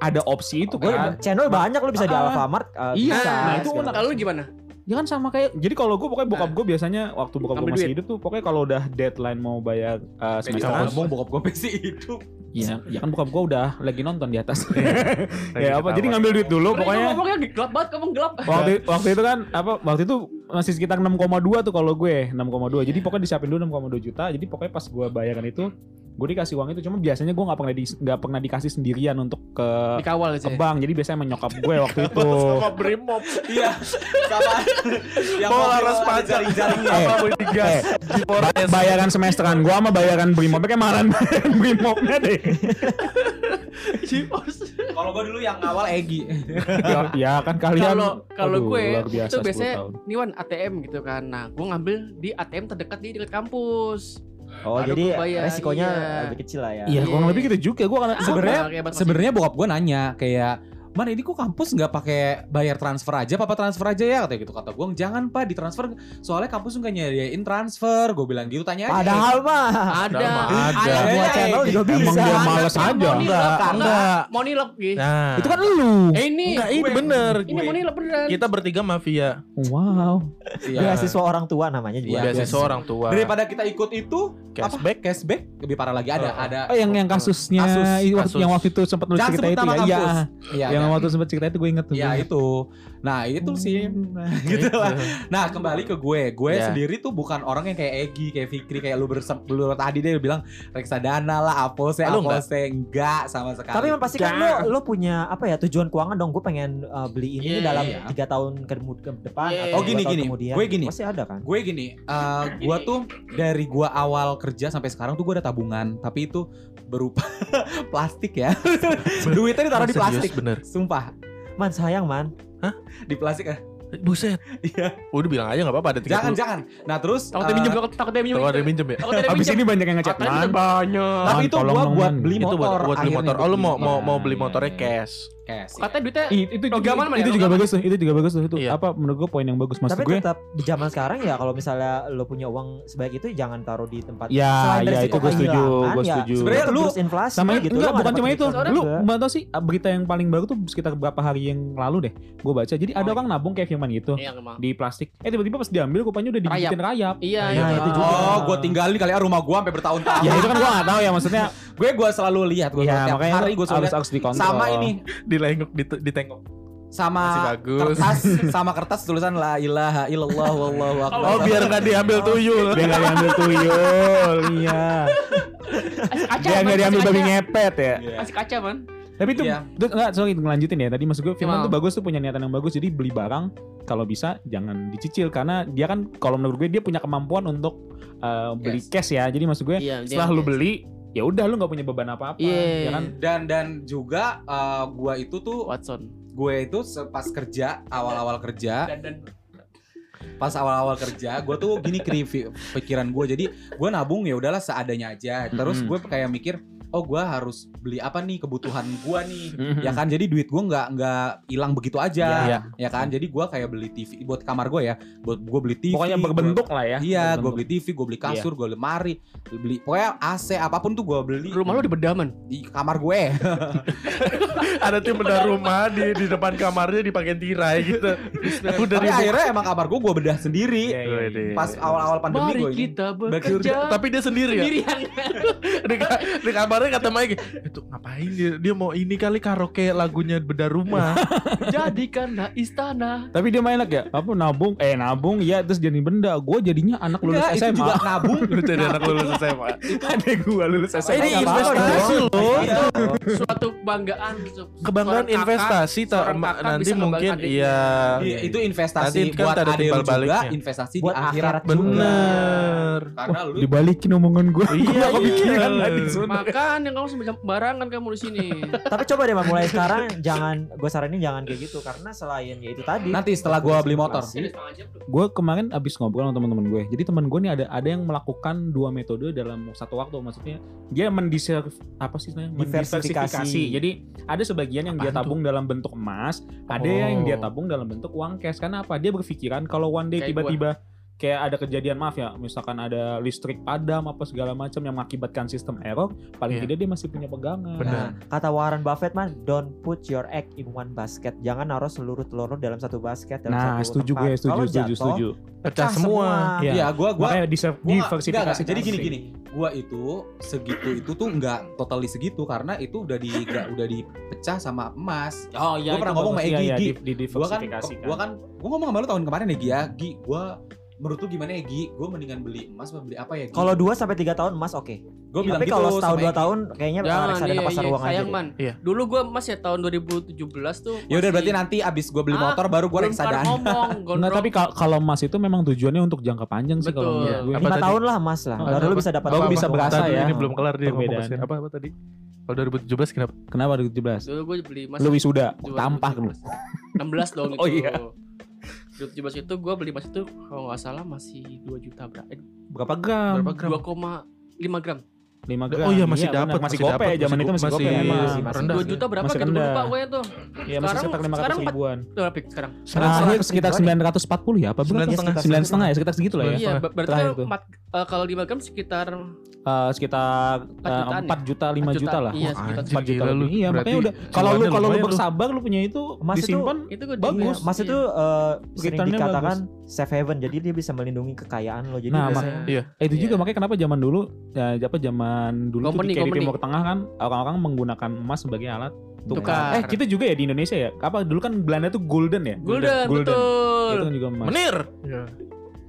Speaker 1: ada opsi itu
Speaker 5: Gue
Speaker 1: kan.
Speaker 5: channel banyak lu bisa di
Speaker 1: Ah.
Speaker 5: Alfamart. eh,
Speaker 1: Iya,
Speaker 5: bisa,
Speaker 1: nah itu
Speaker 5: segala
Speaker 1: unek.
Speaker 6: Kalau lu gimana?
Speaker 1: Ya kan sama kayak jadi kalau gue pokoknya
Speaker 2: Nah.
Speaker 1: bokap gue biasanya waktu bokap gue
Speaker 6: Ambil
Speaker 1: masih
Speaker 6: duit.
Speaker 1: hidup tuh pokoknya kalau udah deadline mau bayar uh,
Speaker 3: Media
Speaker 1: semester
Speaker 3: ngomong bokap gue masih hidup.
Speaker 1: Iya, ya kan bokap gue udah lagi nonton di atas.
Speaker 2: Lagi
Speaker 1: ya apa?
Speaker 2: ketawa.
Speaker 1: Jadi ngambil duit dulu
Speaker 6: Pokoknya
Speaker 1: pokoknya.
Speaker 6: ngomongnya gelap banget, kamu gelap.
Speaker 1: Waktu waktu itu kan apa waktu itu masih sekitar
Speaker 2: Iya.
Speaker 1: 6,2 tuh kalau gue, 6,2. Jadi pokoknya disiapin dulu 6,2 juta. Jadi pokoknya pas gue bayaran itu gue dikasih uang itu cuma biasanya gue nggak pernah di, nggak pernah dikasih sendirian untuk ke
Speaker 6: dikawal
Speaker 1: ke
Speaker 6: aja
Speaker 1: bank jadi biasanya sama nyokap gue waktu itu
Speaker 2: Iya. Sama Brimob
Speaker 3: Iya. Sama yang
Speaker 2: Bawa
Speaker 3: mobil
Speaker 2: laras
Speaker 3: ada
Speaker 2: panjang.
Speaker 3: jaring-jaringnya.
Speaker 1: Eh,
Speaker 2: Apa mau digas Jipores.
Speaker 1: bayaran semesteran gue sama bayaran brimobnya kayak marahan bayaran brimobnya deh
Speaker 3: Kalau gue dulu yang awal Egi.
Speaker 1: ya, ya kan kalian
Speaker 6: Kalau- kalau
Speaker 1: aduh,
Speaker 6: gue,
Speaker 1: luar biasa
Speaker 6: itu
Speaker 1: 10
Speaker 6: biasanya-
Speaker 1: tahun.
Speaker 6: ini wan ATM gitu kan nah gue ngambil di ATM terdekat di dekat kampus
Speaker 5: Oh
Speaker 6: Baru
Speaker 5: jadi
Speaker 6: kebayang,
Speaker 5: resikonya
Speaker 6: iya.
Speaker 5: lebih kecil lah ya.
Speaker 1: iya kurang
Speaker 6: Iya.
Speaker 1: lebih gitu juga gue kan
Speaker 3: Sebenarnya-
Speaker 6: Sama Nah, kayak batas-
Speaker 3: Sebenarnya bokap gue nanya kayak Man ini kok kampus nggak pakai bayar transfer aja, papa transfer aja ya kata gitu kata gue jangan pak ditransfer soalnya kampus nggak nyediain transfer, gue bilang gitu tanya aja.
Speaker 5: Padahal mah.
Speaker 6: ada
Speaker 2: Ada.
Speaker 3: Ada.
Speaker 5: Buat channel juga bisa.
Speaker 1: emang dia males aja
Speaker 6: Yang mau nilep
Speaker 2: Enggak, enggak.
Speaker 6: enggak mau nilep gitu
Speaker 2: Nah,
Speaker 1: itu kan lu
Speaker 6: eh ini
Speaker 2: enggak ini bener. Gitu.
Speaker 6: ini mau nilep beneran
Speaker 2: Kita bertiga mafia.
Speaker 1: wow
Speaker 3: Iya.
Speaker 5: Beasiswa orang tua
Speaker 3: Iya,
Speaker 5: namanya juga.
Speaker 2: Biasiswa
Speaker 3: biasiswa.
Speaker 2: orang tua.
Speaker 3: Daripada kita ikut itu
Speaker 2: Cashback.
Speaker 3: apa? cashback lebih parah lagi ada
Speaker 2: Oh.
Speaker 3: ada.
Speaker 1: Oh, yang yang kasusnya
Speaker 3: Kasus,
Speaker 1: i- waktu-
Speaker 2: kasus.
Speaker 1: yang waktu itu sempat lu
Speaker 3: Jangan
Speaker 1: cerita
Speaker 3: sebut
Speaker 1: itu
Speaker 3: nama
Speaker 1: ya. Iya,
Speaker 3: kampus. Iya.
Speaker 1: yang
Speaker 3: ada.
Speaker 1: waktu sempat cerita itu gue inget tuh.
Speaker 3: Iya
Speaker 1: gue inget.
Speaker 3: itu. Nah itu sih gitu lah. Nah kembali ke gue, gue
Speaker 2: Ya.
Speaker 3: sendiri tuh bukan orang yang kayak Egi, kayak Fikri, kayak lu bersem, lu tadi deh bilang reksadana lah, apose,
Speaker 2: Ah, lu
Speaker 3: apose, enggak sama sekali.
Speaker 5: Tapi memang pasti kan lo, lo punya apa ya tujuan keuangan dong. Gue pengen uh, beli
Speaker 6: Iya,
Speaker 5: ini dalam
Speaker 3: iya.
Speaker 5: tiga tahun ke, demu- ke depan
Speaker 6: Iya.
Speaker 5: atau
Speaker 6: Oh,
Speaker 5: dua
Speaker 3: gini,
Speaker 5: tahun
Speaker 3: gini.
Speaker 5: kemudian.
Speaker 3: Gue gini.
Speaker 5: Pasti ada kan.
Speaker 3: Gue gini, eh, gue tuh dari gue awal kerja sampai sekarang tuh gue ada tabungan, tapi itu berupa plastik ya. Duitnya ditaruh di
Speaker 2: Serius,
Speaker 3: plastik.
Speaker 2: bener.
Speaker 3: Sumpah,
Speaker 5: Man sayang man.
Speaker 3: di plastik ya.
Speaker 2: Buset.
Speaker 3: Iya.
Speaker 2: Udah bilang aja enggak apa-apa ada 30.
Speaker 3: Jangan, jangan. Nah terus
Speaker 6: takut
Speaker 3: eh,
Speaker 6: dia minjem takut dia minjem
Speaker 2: Tuh ada minjem ya.
Speaker 6: takut dia
Speaker 1: Abis
Speaker 6: minjem
Speaker 1: ini banyak yang ngechat
Speaker 6: Katanya
Speaker 1: man.
Speaker 6: minjem.
Speaker 2: Banyak.
Speaker 3: tapi itu
Speaker 1: tolong
Speaker 3: gue
Speaker 1: dong,
Speaker 3: buat
Speaker 1: Man.
Speaker 3: beli
Speaker 2: Itu
Speaker 3: Kan motor.
Speaker 2: buat, buat beli
Speaker 3: akhirnya
Speaker 2: motor.
Speaker 3: gue
Speaker 2: Oh lu
Speaker 3: beli
Speaker 2: mau mau mau
Speaker 3: motor.
Speaker 2: beli
Speaker 3: Iya,
Speaker 2: motornya
Speaker 3: iya.
Speaker 2: cash.
Speaker 3: Cash, iya.
Speaker 6: katanya duitnya
Speaker 1: Ih, itu
Speaker 6: Logaman, Man,
Speaker 1: itu
Speaker 6: ya,
Speaker 1: juga
Speaker 6: logaman.
Speaker 1: bagus tuh itu juga bagus tuh itu
Speaker 2: Iya.
Speaker 1: apa menurut gue poin yang bagus maksud
Speaker 5: Tapi
Speaker 1: gue
Speaker 5: tetap di zaman sekarang ya kalau misalnya lo punya uang sebaik itu jangan taruh di tempat.
Speaker 1: ya
Speaker 5: Selain dari
Speaker 1: ya itu
Speaker 5: risiko
Speaker 1: gue setuju
Speaker 5: kehilangan,
Speaker 1: gue
Speaker 5: ya,
Speaker 1: setuju
Speaker 3: sebenarnya
Speaker 5: tetap
Speaker 3: lu-
Speaker 5: terus inflasi
Speaker 1: sama itu
Speaker 5: gitu
Speaker 1: enggak
Speaker 5: lo nggak
Speaker 1: bukan
Speaker 5: dapat
Speaker 1: cuma itu
Speaker 5: kejutan
Speaker 1: lu
Speaker 5: juga.
Speaker 1: mbak tau sih ah, berita yang paling baru tuh sekitar berapa hari yang lalu deh gue baca jadi ada
Speaker 6: Oh,
Speaker 1: orang nabung kayak firman gitu
Speaker 6: Iya, emang.
Speaker 1: di plastik eh tiba-tiba pas diambil kupanya udah
Speaker 6: Rayap.
Speaker 1: digigitin rayap
Speaker 6: iya
Speaker 5: Nah,
Speaker 6: iya.
Speaker 5: itu juga.
Speaker 3: Oh, gue tinggalin kali ya rumah gue sampai bertahun-tahun.
Speaker 1: ya itu kan gue gak tahu ya maksudnya
Speaker 3: gue gue selalu lihat, gue
Speaker 1: ya
Speaker 3: selalu Iya, tiap
Speaker 1: makanya
Speaker 3: hari gue selalu
Speaker 1: harus
Speaker 3: lihat.
Speaker 1: harus dikontrol
Speaker 3: Sama ini,
Speaker 2: Dilengok dit- ditengok.
Speaker 3: sama
Speaker 2: Masih bagus.
Speaker 3: kertas, sama kertas tulisan la ilaha illallah wallahu akbar.
Speaker 2: Oh biar nggak diambil
Speaker 3: Ah.
Speaker 2: tuyul.
Speaker 1: dia gak diambil tuyul iya
Speaker 6: Kasih kaca,
Speaker 1: dia
Speaker 6: Man,
Speaker 1: gak
Speaker 6: kasih
Speaker 1: diambil babi
Speaker 6: kaca.
Speaker 1: ngepet ya
Speaker 6: kasih kaca man
Speaker 1: Tapi itu
Speaker 3: Iya.
Speaker 1: itu- enggak sorry ngelanjutin ya. Tadi maksud gue Firman
Speaker 6: Mau.
Speaker 1: tuh bagus tuh punya niatan yang bagus. Jadi beli barang kalau bisa jangan dicicil karena dia kan kalau menurut gue dia punya kemampuan untuk uh, beli
Speaker 3: Yes.
Speaker 1: cash ya. Jadi maksud gue
Speaker 6: iya
Speaker 1: setelah lu beli ya udah lu nggak punya beban apa-apa.
Speaker 6: Iya.
Speaker 1: Ya kan?
Speaker 3: Dan dan juga eh, gue itu tuh
Speaker 6: Watson
Speaker 3: gue itu se- pas kerja awal-awal kerja
Speaker 6: dan dan
Speaker 3: pas awal-awal kerja gue tuh gini kri fi- pikiran gue jadi gue nabung ya udahlah seadanya aja terus
Speaker 1: Mhm.
Speaker 3: gue kayak mikir oh gue harus beli apa nih kebutuhan gue nih
Speaker 1: Mhm.
Speaker 3: ya kan jadi duit gue nggak nggak hilang begitu aja
Speaker 2: Iya.
Speaker 3: ya kan jadi gue kayak beli TV buat kamar gue ya buat gue beli TV
Speaker 1: Pokoknya
Speaker 3: gua-
Speaker 1: berbentuk lah ya.
Speaker 3: Iya, gue
Speaker 1: Berbentuk.
Speaker 3: beli TV, gue beli kasur, gue lemari, beli pokoknya AC apapun tuh gue beli
Speaker 6: rumah lu di bedaman
Speaker 3: di kamar gue.
Speaker 2: ada tim bedah rumah di di depan kamarnya dipakai tirai gitu. Udah
Speaker 3: Tapi
Speaker 2: di
Speaker 3: akhirnya emang kamar gue gue bedah sendiri.
Speaker 1: Iya, iya, iya.
Speaker 3: Pas awal-awal pandemi
Speaker 6: mari
Speaker 3: gue ini.
Speaker 6: kita
Speaker 3: Bagi-
Speaker 6: bekerja
Speaker 2: tapi dia sendiri ya
Speaker 6: sendirian
Speaker 2: di, ka- di kamarnya kata Mike itu ngapain dia dia mau ini kali karaoke lagunya bedah rumah
Speaker 6: jadikanlah istana
Speaker 1: Tapi dia main enak ya. Apa nabung? Eh nabung ya terus jadi benda. Gue jadinya anak lulus
Speaker 3: Enggak, itu
Speaker 1: SMA.
Speaker 3: juga nabung.
Speaker 2: Lu jadi anak lulus SMA
Speaker 1: Ada gue lulus SMA.
Speaker 2: ini
Speaker 1: nggak apa-apa.
Speaker 2: investasi loh
Speaker 3: Iya.
Speaker 6: suatu kebanggaan se-
Speaker 2: kebanggaan
Speaker 6: seorang kakak.
Speaker 2: investasi tak
Speaker 6: seorang
Speaker 2: ma-
Speaker 6: kakak
Speaker 2: nanti
Speaker 6: bisa
Speaker 2: mungkin
Speaker 6: ngebanggain
Speaker 2: iya
Speaker 3: Iya, itu investasi
Speaker 2: Nanti kan
Speaker 3: buat
Speaker 2: ada
Speaker 3: ada
Speaker 2: timbal
Speaker 3: juga,
Speaker 2: baliknya.
Speaker 3: investasi
Speaker 5: Buat
Speaker 3: di akhirat.
Speaker 5: akhirat
Speaker 3: juga.
Speaker 2: bener
Speaker 1: Iya,
Speaker 3: Karena lu
Speaker 1: Dibalikin omongan gue. Gue
Speaker 2: Iya,
Speaker 1: gak kepikiran
Speaker 2: iya.
Speaker 1: tadi. sebenarnya.
Speaker 6: makan yang kamu semacam barangan kamu di sini
Speaker 5: Tapi coba deh Man, mulai sekarang jangan gue saranin jangan kayak gitu karena selain ya itu tadi.
Speaker 3: nanti setelah gue beli motor.
Speaker 6: Iya.
Speaker 5: Inflasi.
Speaker 1: gue kemarin abis ngobrol sama teman-teman gue jadi teman gue nih ada ada yang melakukan dua metode dalam satu waktu maksudnya dia mendiser apa sih namanya
Speaker 5: Diversifikasi.
Speaker 1: jadi ada sebagian yang dia
Speaker 2: Apaan
Speaker 1: tabung dalam bentuk emas ada
Speaker 2: Oh.
Speaker 1: yang dia tabung dalam bentuk uang cash karena apa dia berpikiran kalau one day
Speaker 6: Kayak
Speaker 1: tiba-tiba kayak ada kejadian maaf ya misalkan ada listrik padam apa segala macam yang mengakibatkan sistem error paling
Speaker 2: Iya.
Speaker 1: tidak dia masih punya pegangan
Speaker 2: Benar.
Speaker 5: Nah, kata Warren Buffett man, don't put your egg in one basket. Jangan naruh seluruh telur lo dalam satu basket dalam
Speaker 1: nah
Speaker 5: satu
Speaker 1: setuju
Speaker 5: tempat.
Speaker 1: gue setuju
Speaker 5: Kalau
Speaker 1: setuju
Speaker 5: jatuh,
Speaker 1: setuju
Speaker 2: pecah semua
Speaker 1: Iya.
Speaker 3: Iya, gue gue
Speaker 1: makanya diser-
Speaker 3: gua nggak- nggak,
Speaker 1: diversifikasi
Speaker 3: nggak. jadi gini gini gua itu segitu itu tuh nggak totally segitu karena itu udah di nggak- udah dipecah sama emas
Speaker 1: oh
Speaker 6: iya,
Speaker 3: Gua pernah ngomong sama Egy, Gi.
Speaker 1: di,
Speaker 3: gua kan
Speaker 1: diversifikasikan.
Speaker 3: gua kan gua ngomong sama lu tahun kemarin ya Gia ya. Gi gua menurut lu gimana ya Gi? Gue mendingan beli emas apa beli apa ya Gi?
Speaker 5: Kalau 2 sampai 3 tahun emas oke.
Speaker 3: gue bilang
Speaker 5: Tapi
Speaker 3: gitu
Speaker 5: kalau setahun
Speaker 3: sama
Speaker 5: 2
Speaker 3: Egi.
Speaker 5: tahun kayaknya reksadana
Speaker 6: iya,
Speaker 5: pasar
Speaker 6: iya,
Speaker 5: uang aja.
Speaker 6: sayang
Speaker 5: deh.
Speaker 6: man.
Speaker 2: Iya.
Speaker 6: Dulu gua emas ya tahun 2017 tuh.
Speaker 3: Ya udah
Speaker 6: masih
Speaker 3: berarti nanti abis gue beli
Speaker 6: Ah,
Speaker 3: motor baru
Speaker 6: belum
Speaker 3: gue
Speaker 6: kelar
Speaker 3: reksadana.
Speaker 6: ngomong,
Speaker 1: Enggak,
Speaker 6: gondrong.
Speaker 1: Nah, tapi kal- kalau emas itu memang tujuannya untuk jangka panjang sih
Speaker 6: Betul.
Speaker 1: kalau menurut gue.
Speaker 2: Apa
Speaker 5: Lima
Speaker 2: tadi?
Speaker 5: tahun lah emas lah.
Speaker 1: Oh,
Speaker 5: Baru lu bisa dapat.
Speaker 1: Baru
Speaker 5: rumah
Speaker 1: bisa
Speaker 5: doang.
Speaker 1: berasa
Speaker 2: Tadi
Speaker 1: ya.
Speaker 2: Ini belum kelar dia ngomong
Speaker 1: Perbedaannya.
Speaker 2: apa, apa tadi? Kalau 2017 kenapa?
Speaker 1: Kenapa 17?
Speaker 6: Dulu gue beli emas.
Speaker 1: Lu wisuda,
Speaker 6: Dua-
Speaker 1: tampah lu.
Speaker 6: 16 dong itu.
Speaker 1: Oh, iya.
Speaker 6: 2017 itu gue beli emas itu kalau nggak salah masih 2 juta berapa? Eh,
Speaker 1: Berapa gram?
Speaker 2: Berapa gram?
Speaker 6: 2,5 gram.
Speaker 1: 5 gram.
Speaker 2: Oh iya masih
Speaker 1: benar.
Speaker 2: dapat,
Speaker 1: masih gope
Speaker 2: dapat,
Speaker 1: zaman itu masih,
Speaker 2: masih Iya,
Speaker 1: gope emang.
Speaker 5: masih- masih-
Speaker 2: rendah.
Speaker 6: 2 juta berapa
Speaker 1: Masih
Speaker 6: gitu gue
Speaker 1: rendah.
Speaker 6: lupa gue tuh.
Speaker 1: Iya masih
Speaker 6: Sekarang-
Speaker 1: sekitar
Speaker 6: sekarang
Speaker 1: 500 ribuan.
Speaker 6: Udah berapa sekarang?
Speaker 1: Sekarang sekitar 940 ya apa
Speaker 2: Sembilan
Speaker 1: berapa?
Speaker 2: setengah.
Speaker 1: 9 setengah ya sekitar segitu lah ya.
Speaker 6: Iya, ber- berarti
Speaker 1: Terakhir
Speaker 6: kan
Speaker 1: tuh.
Speaker 6: empat- eh, kalau 5 gram sekitar
Speaker 1: Eh, sekitar eh,
Speaker 6: 4 jutaan
Speaker 1: 4 juta 5 juta lah.
Speaker 6: Iya,
Speaker 2: Wah,
Speaker 6: sekitar
Speaker 2: anjing.
Speaker 1: 4 juta
Speaker 2: gila lu.
Speaker 1: lebih. Iya, makanya
Speaker 2: Berarti
Speaker 1: udah kalau lu
Speaker 2: sumbangan
Speaker 1: kalau lu
Speaker 2: lumayan lu.
Speaker 1: bersabar lu punya itu
Speaker 5: Emas itu-
Speaker 1: disimpan
Speaker 6: itu Iya. gue
Speaker 1: Bagus. Iya.
Speaker 5: Emas itu Iya, eh, sering
Speaker 1: Returnnya
Speaker 5: dikatakan safe haven, jadi dia bisa melindungi kekayaan lo. Jadi
Speaker 1: Nah,
Speaker 5: biasanya-
Speaker 1: mak-
Speaker 2: Iya.
Speaker 1: Eh, itu
Speaker 6: Iya.
Speaker 1: juga makanya kenapa zaman dulu ya apa zaman dulu
Speaker 6: Company,
Speaker 1: tuh kayak di
Speaker 6: company.
Speaker 1: Timur Tengah kan orang-orang menggunakan emas sebagai alat
Speaker 6: Tukar.
Speaker 1: Eh, kita juga ya di Indonesia ya. Apa dulu kan Belanda tuh golden ya?
Speaker 6: Gulden,
Speaker 1: Itu
Speaker 6: betul.
Speaker 1: kan juga emas.
Speaker 2: Menir.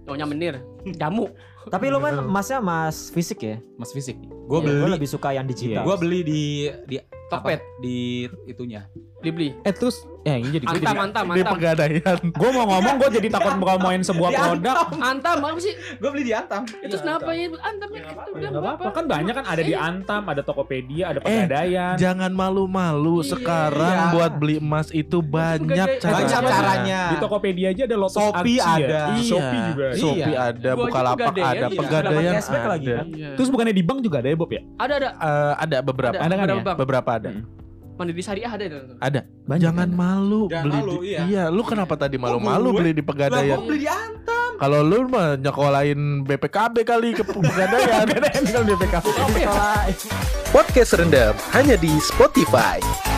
Speaker 6: Taunya menir, jamu.
Speaker 5: Tapi lo
Speaker 1: Iya.
Speaker 5: kan emasnya emas fisik ya.
Speaker 3: Mas fisik. Gue
Speaker 5: Iya, gua
Speaker 3: beli.
Speaker 5: lebih suka yang digital.
Speaker 3: Gue beli di di
Speaker 6: Tokped.
Speaker 3: apa? di itunya.
Speaker 6: Dibeli.
Speaker 1: Eh, terus eh ini jadi
Speaker 6: Antam, antam,
Speaker 2: Di
Speaker 6: antam.
Speaker 2: pegadaian.
Speaker 1: gue mau ngomong gue jadi takut ngomongin sebuah
Speaker 3: Di
Speaker 1: produk
Speaker 6: Antam apa sih?
Speaker 3: Gue beli di Antam.
Speaker 1: Iya,
Speaker 6: Itu kenapa ya? Antam ya, itu
Speaker 1: Gak
Speaker 6: bilang Iya.
Speaker 1: apa-apa kan banyak kan ada di Antam ada Tokopedia ada
Speaker 2: Eh,
Speaker 1: Pegadaian
Speaker 2: Jangan malu-malu
Speaker 6: Iya.
Speaker 2: sekarang
Speaker 3: Iya.
Speaker 2: buat beli emas itu banyak
Speaker 6: pegadaian.
Speaker 2: caranya.
Speaker 3: Banyak caranya.
Speaker 1: di Tokopedia aja ada Lotus
Speaker 3: Shopee
Speaker 1: Aksi
Speaker 3: ada.
Speaker 1: ya.
Speaker 2: Iya.
Speaker 1: Shopee juga ada.
Speaker 2: Shopee
Speaker 3: Iya.
Speaker 2: ada,
Speaker 6: Gua aja
Speaker 2: Bukalapak
Speaker 6: pegadaian
Speaker 2: ada,
Speaker 6: iya.
Speaker 2: pegadaian
Speaker 5: Dapat cashback
Speaker 2: ada.
Speaker 5: lagi kan?
Speaker 6: Iya.
Speaker 1: terus bukannya di bank juga ada ya Bob ya
Speaker 6: ada ada
Speaker 2: Eh, ada beberapa.
Speaker 1: Ada kan
Speaker 6: ada
Speaker 1: ya?
Speaker 6: bang
Speaker 2: Beberapa ada.
Speaker 6: mandiri syariah ada itu
Speaker 2: Ada.
Speaker 1: Banyak
Speaker 2: Jangan
Speaker 1: ada.
Speaker 2: malu
Speaker 3: Jangan
Speaker 2: beli.
Speaker 3: malu,
Speaker 2: di-
Speaker 3: iya.
Speaker 2: iya. lu kenapa tadi malu-malu
Speaker 3: gue?
Speaker 2: beli di
Speaker 3: Lah
Speaker 5: ya.
Speaker 2: pegadaian?
Speaker 3: gue beli di Antam.
Speaker 2: Kalau lu mah nyekolahin BPKB kali ke pegadaian.
Speaker 1: Iya. Pegadaian kalau di PKB
Speaker 8: Podcast Rendam hanya di Spotify.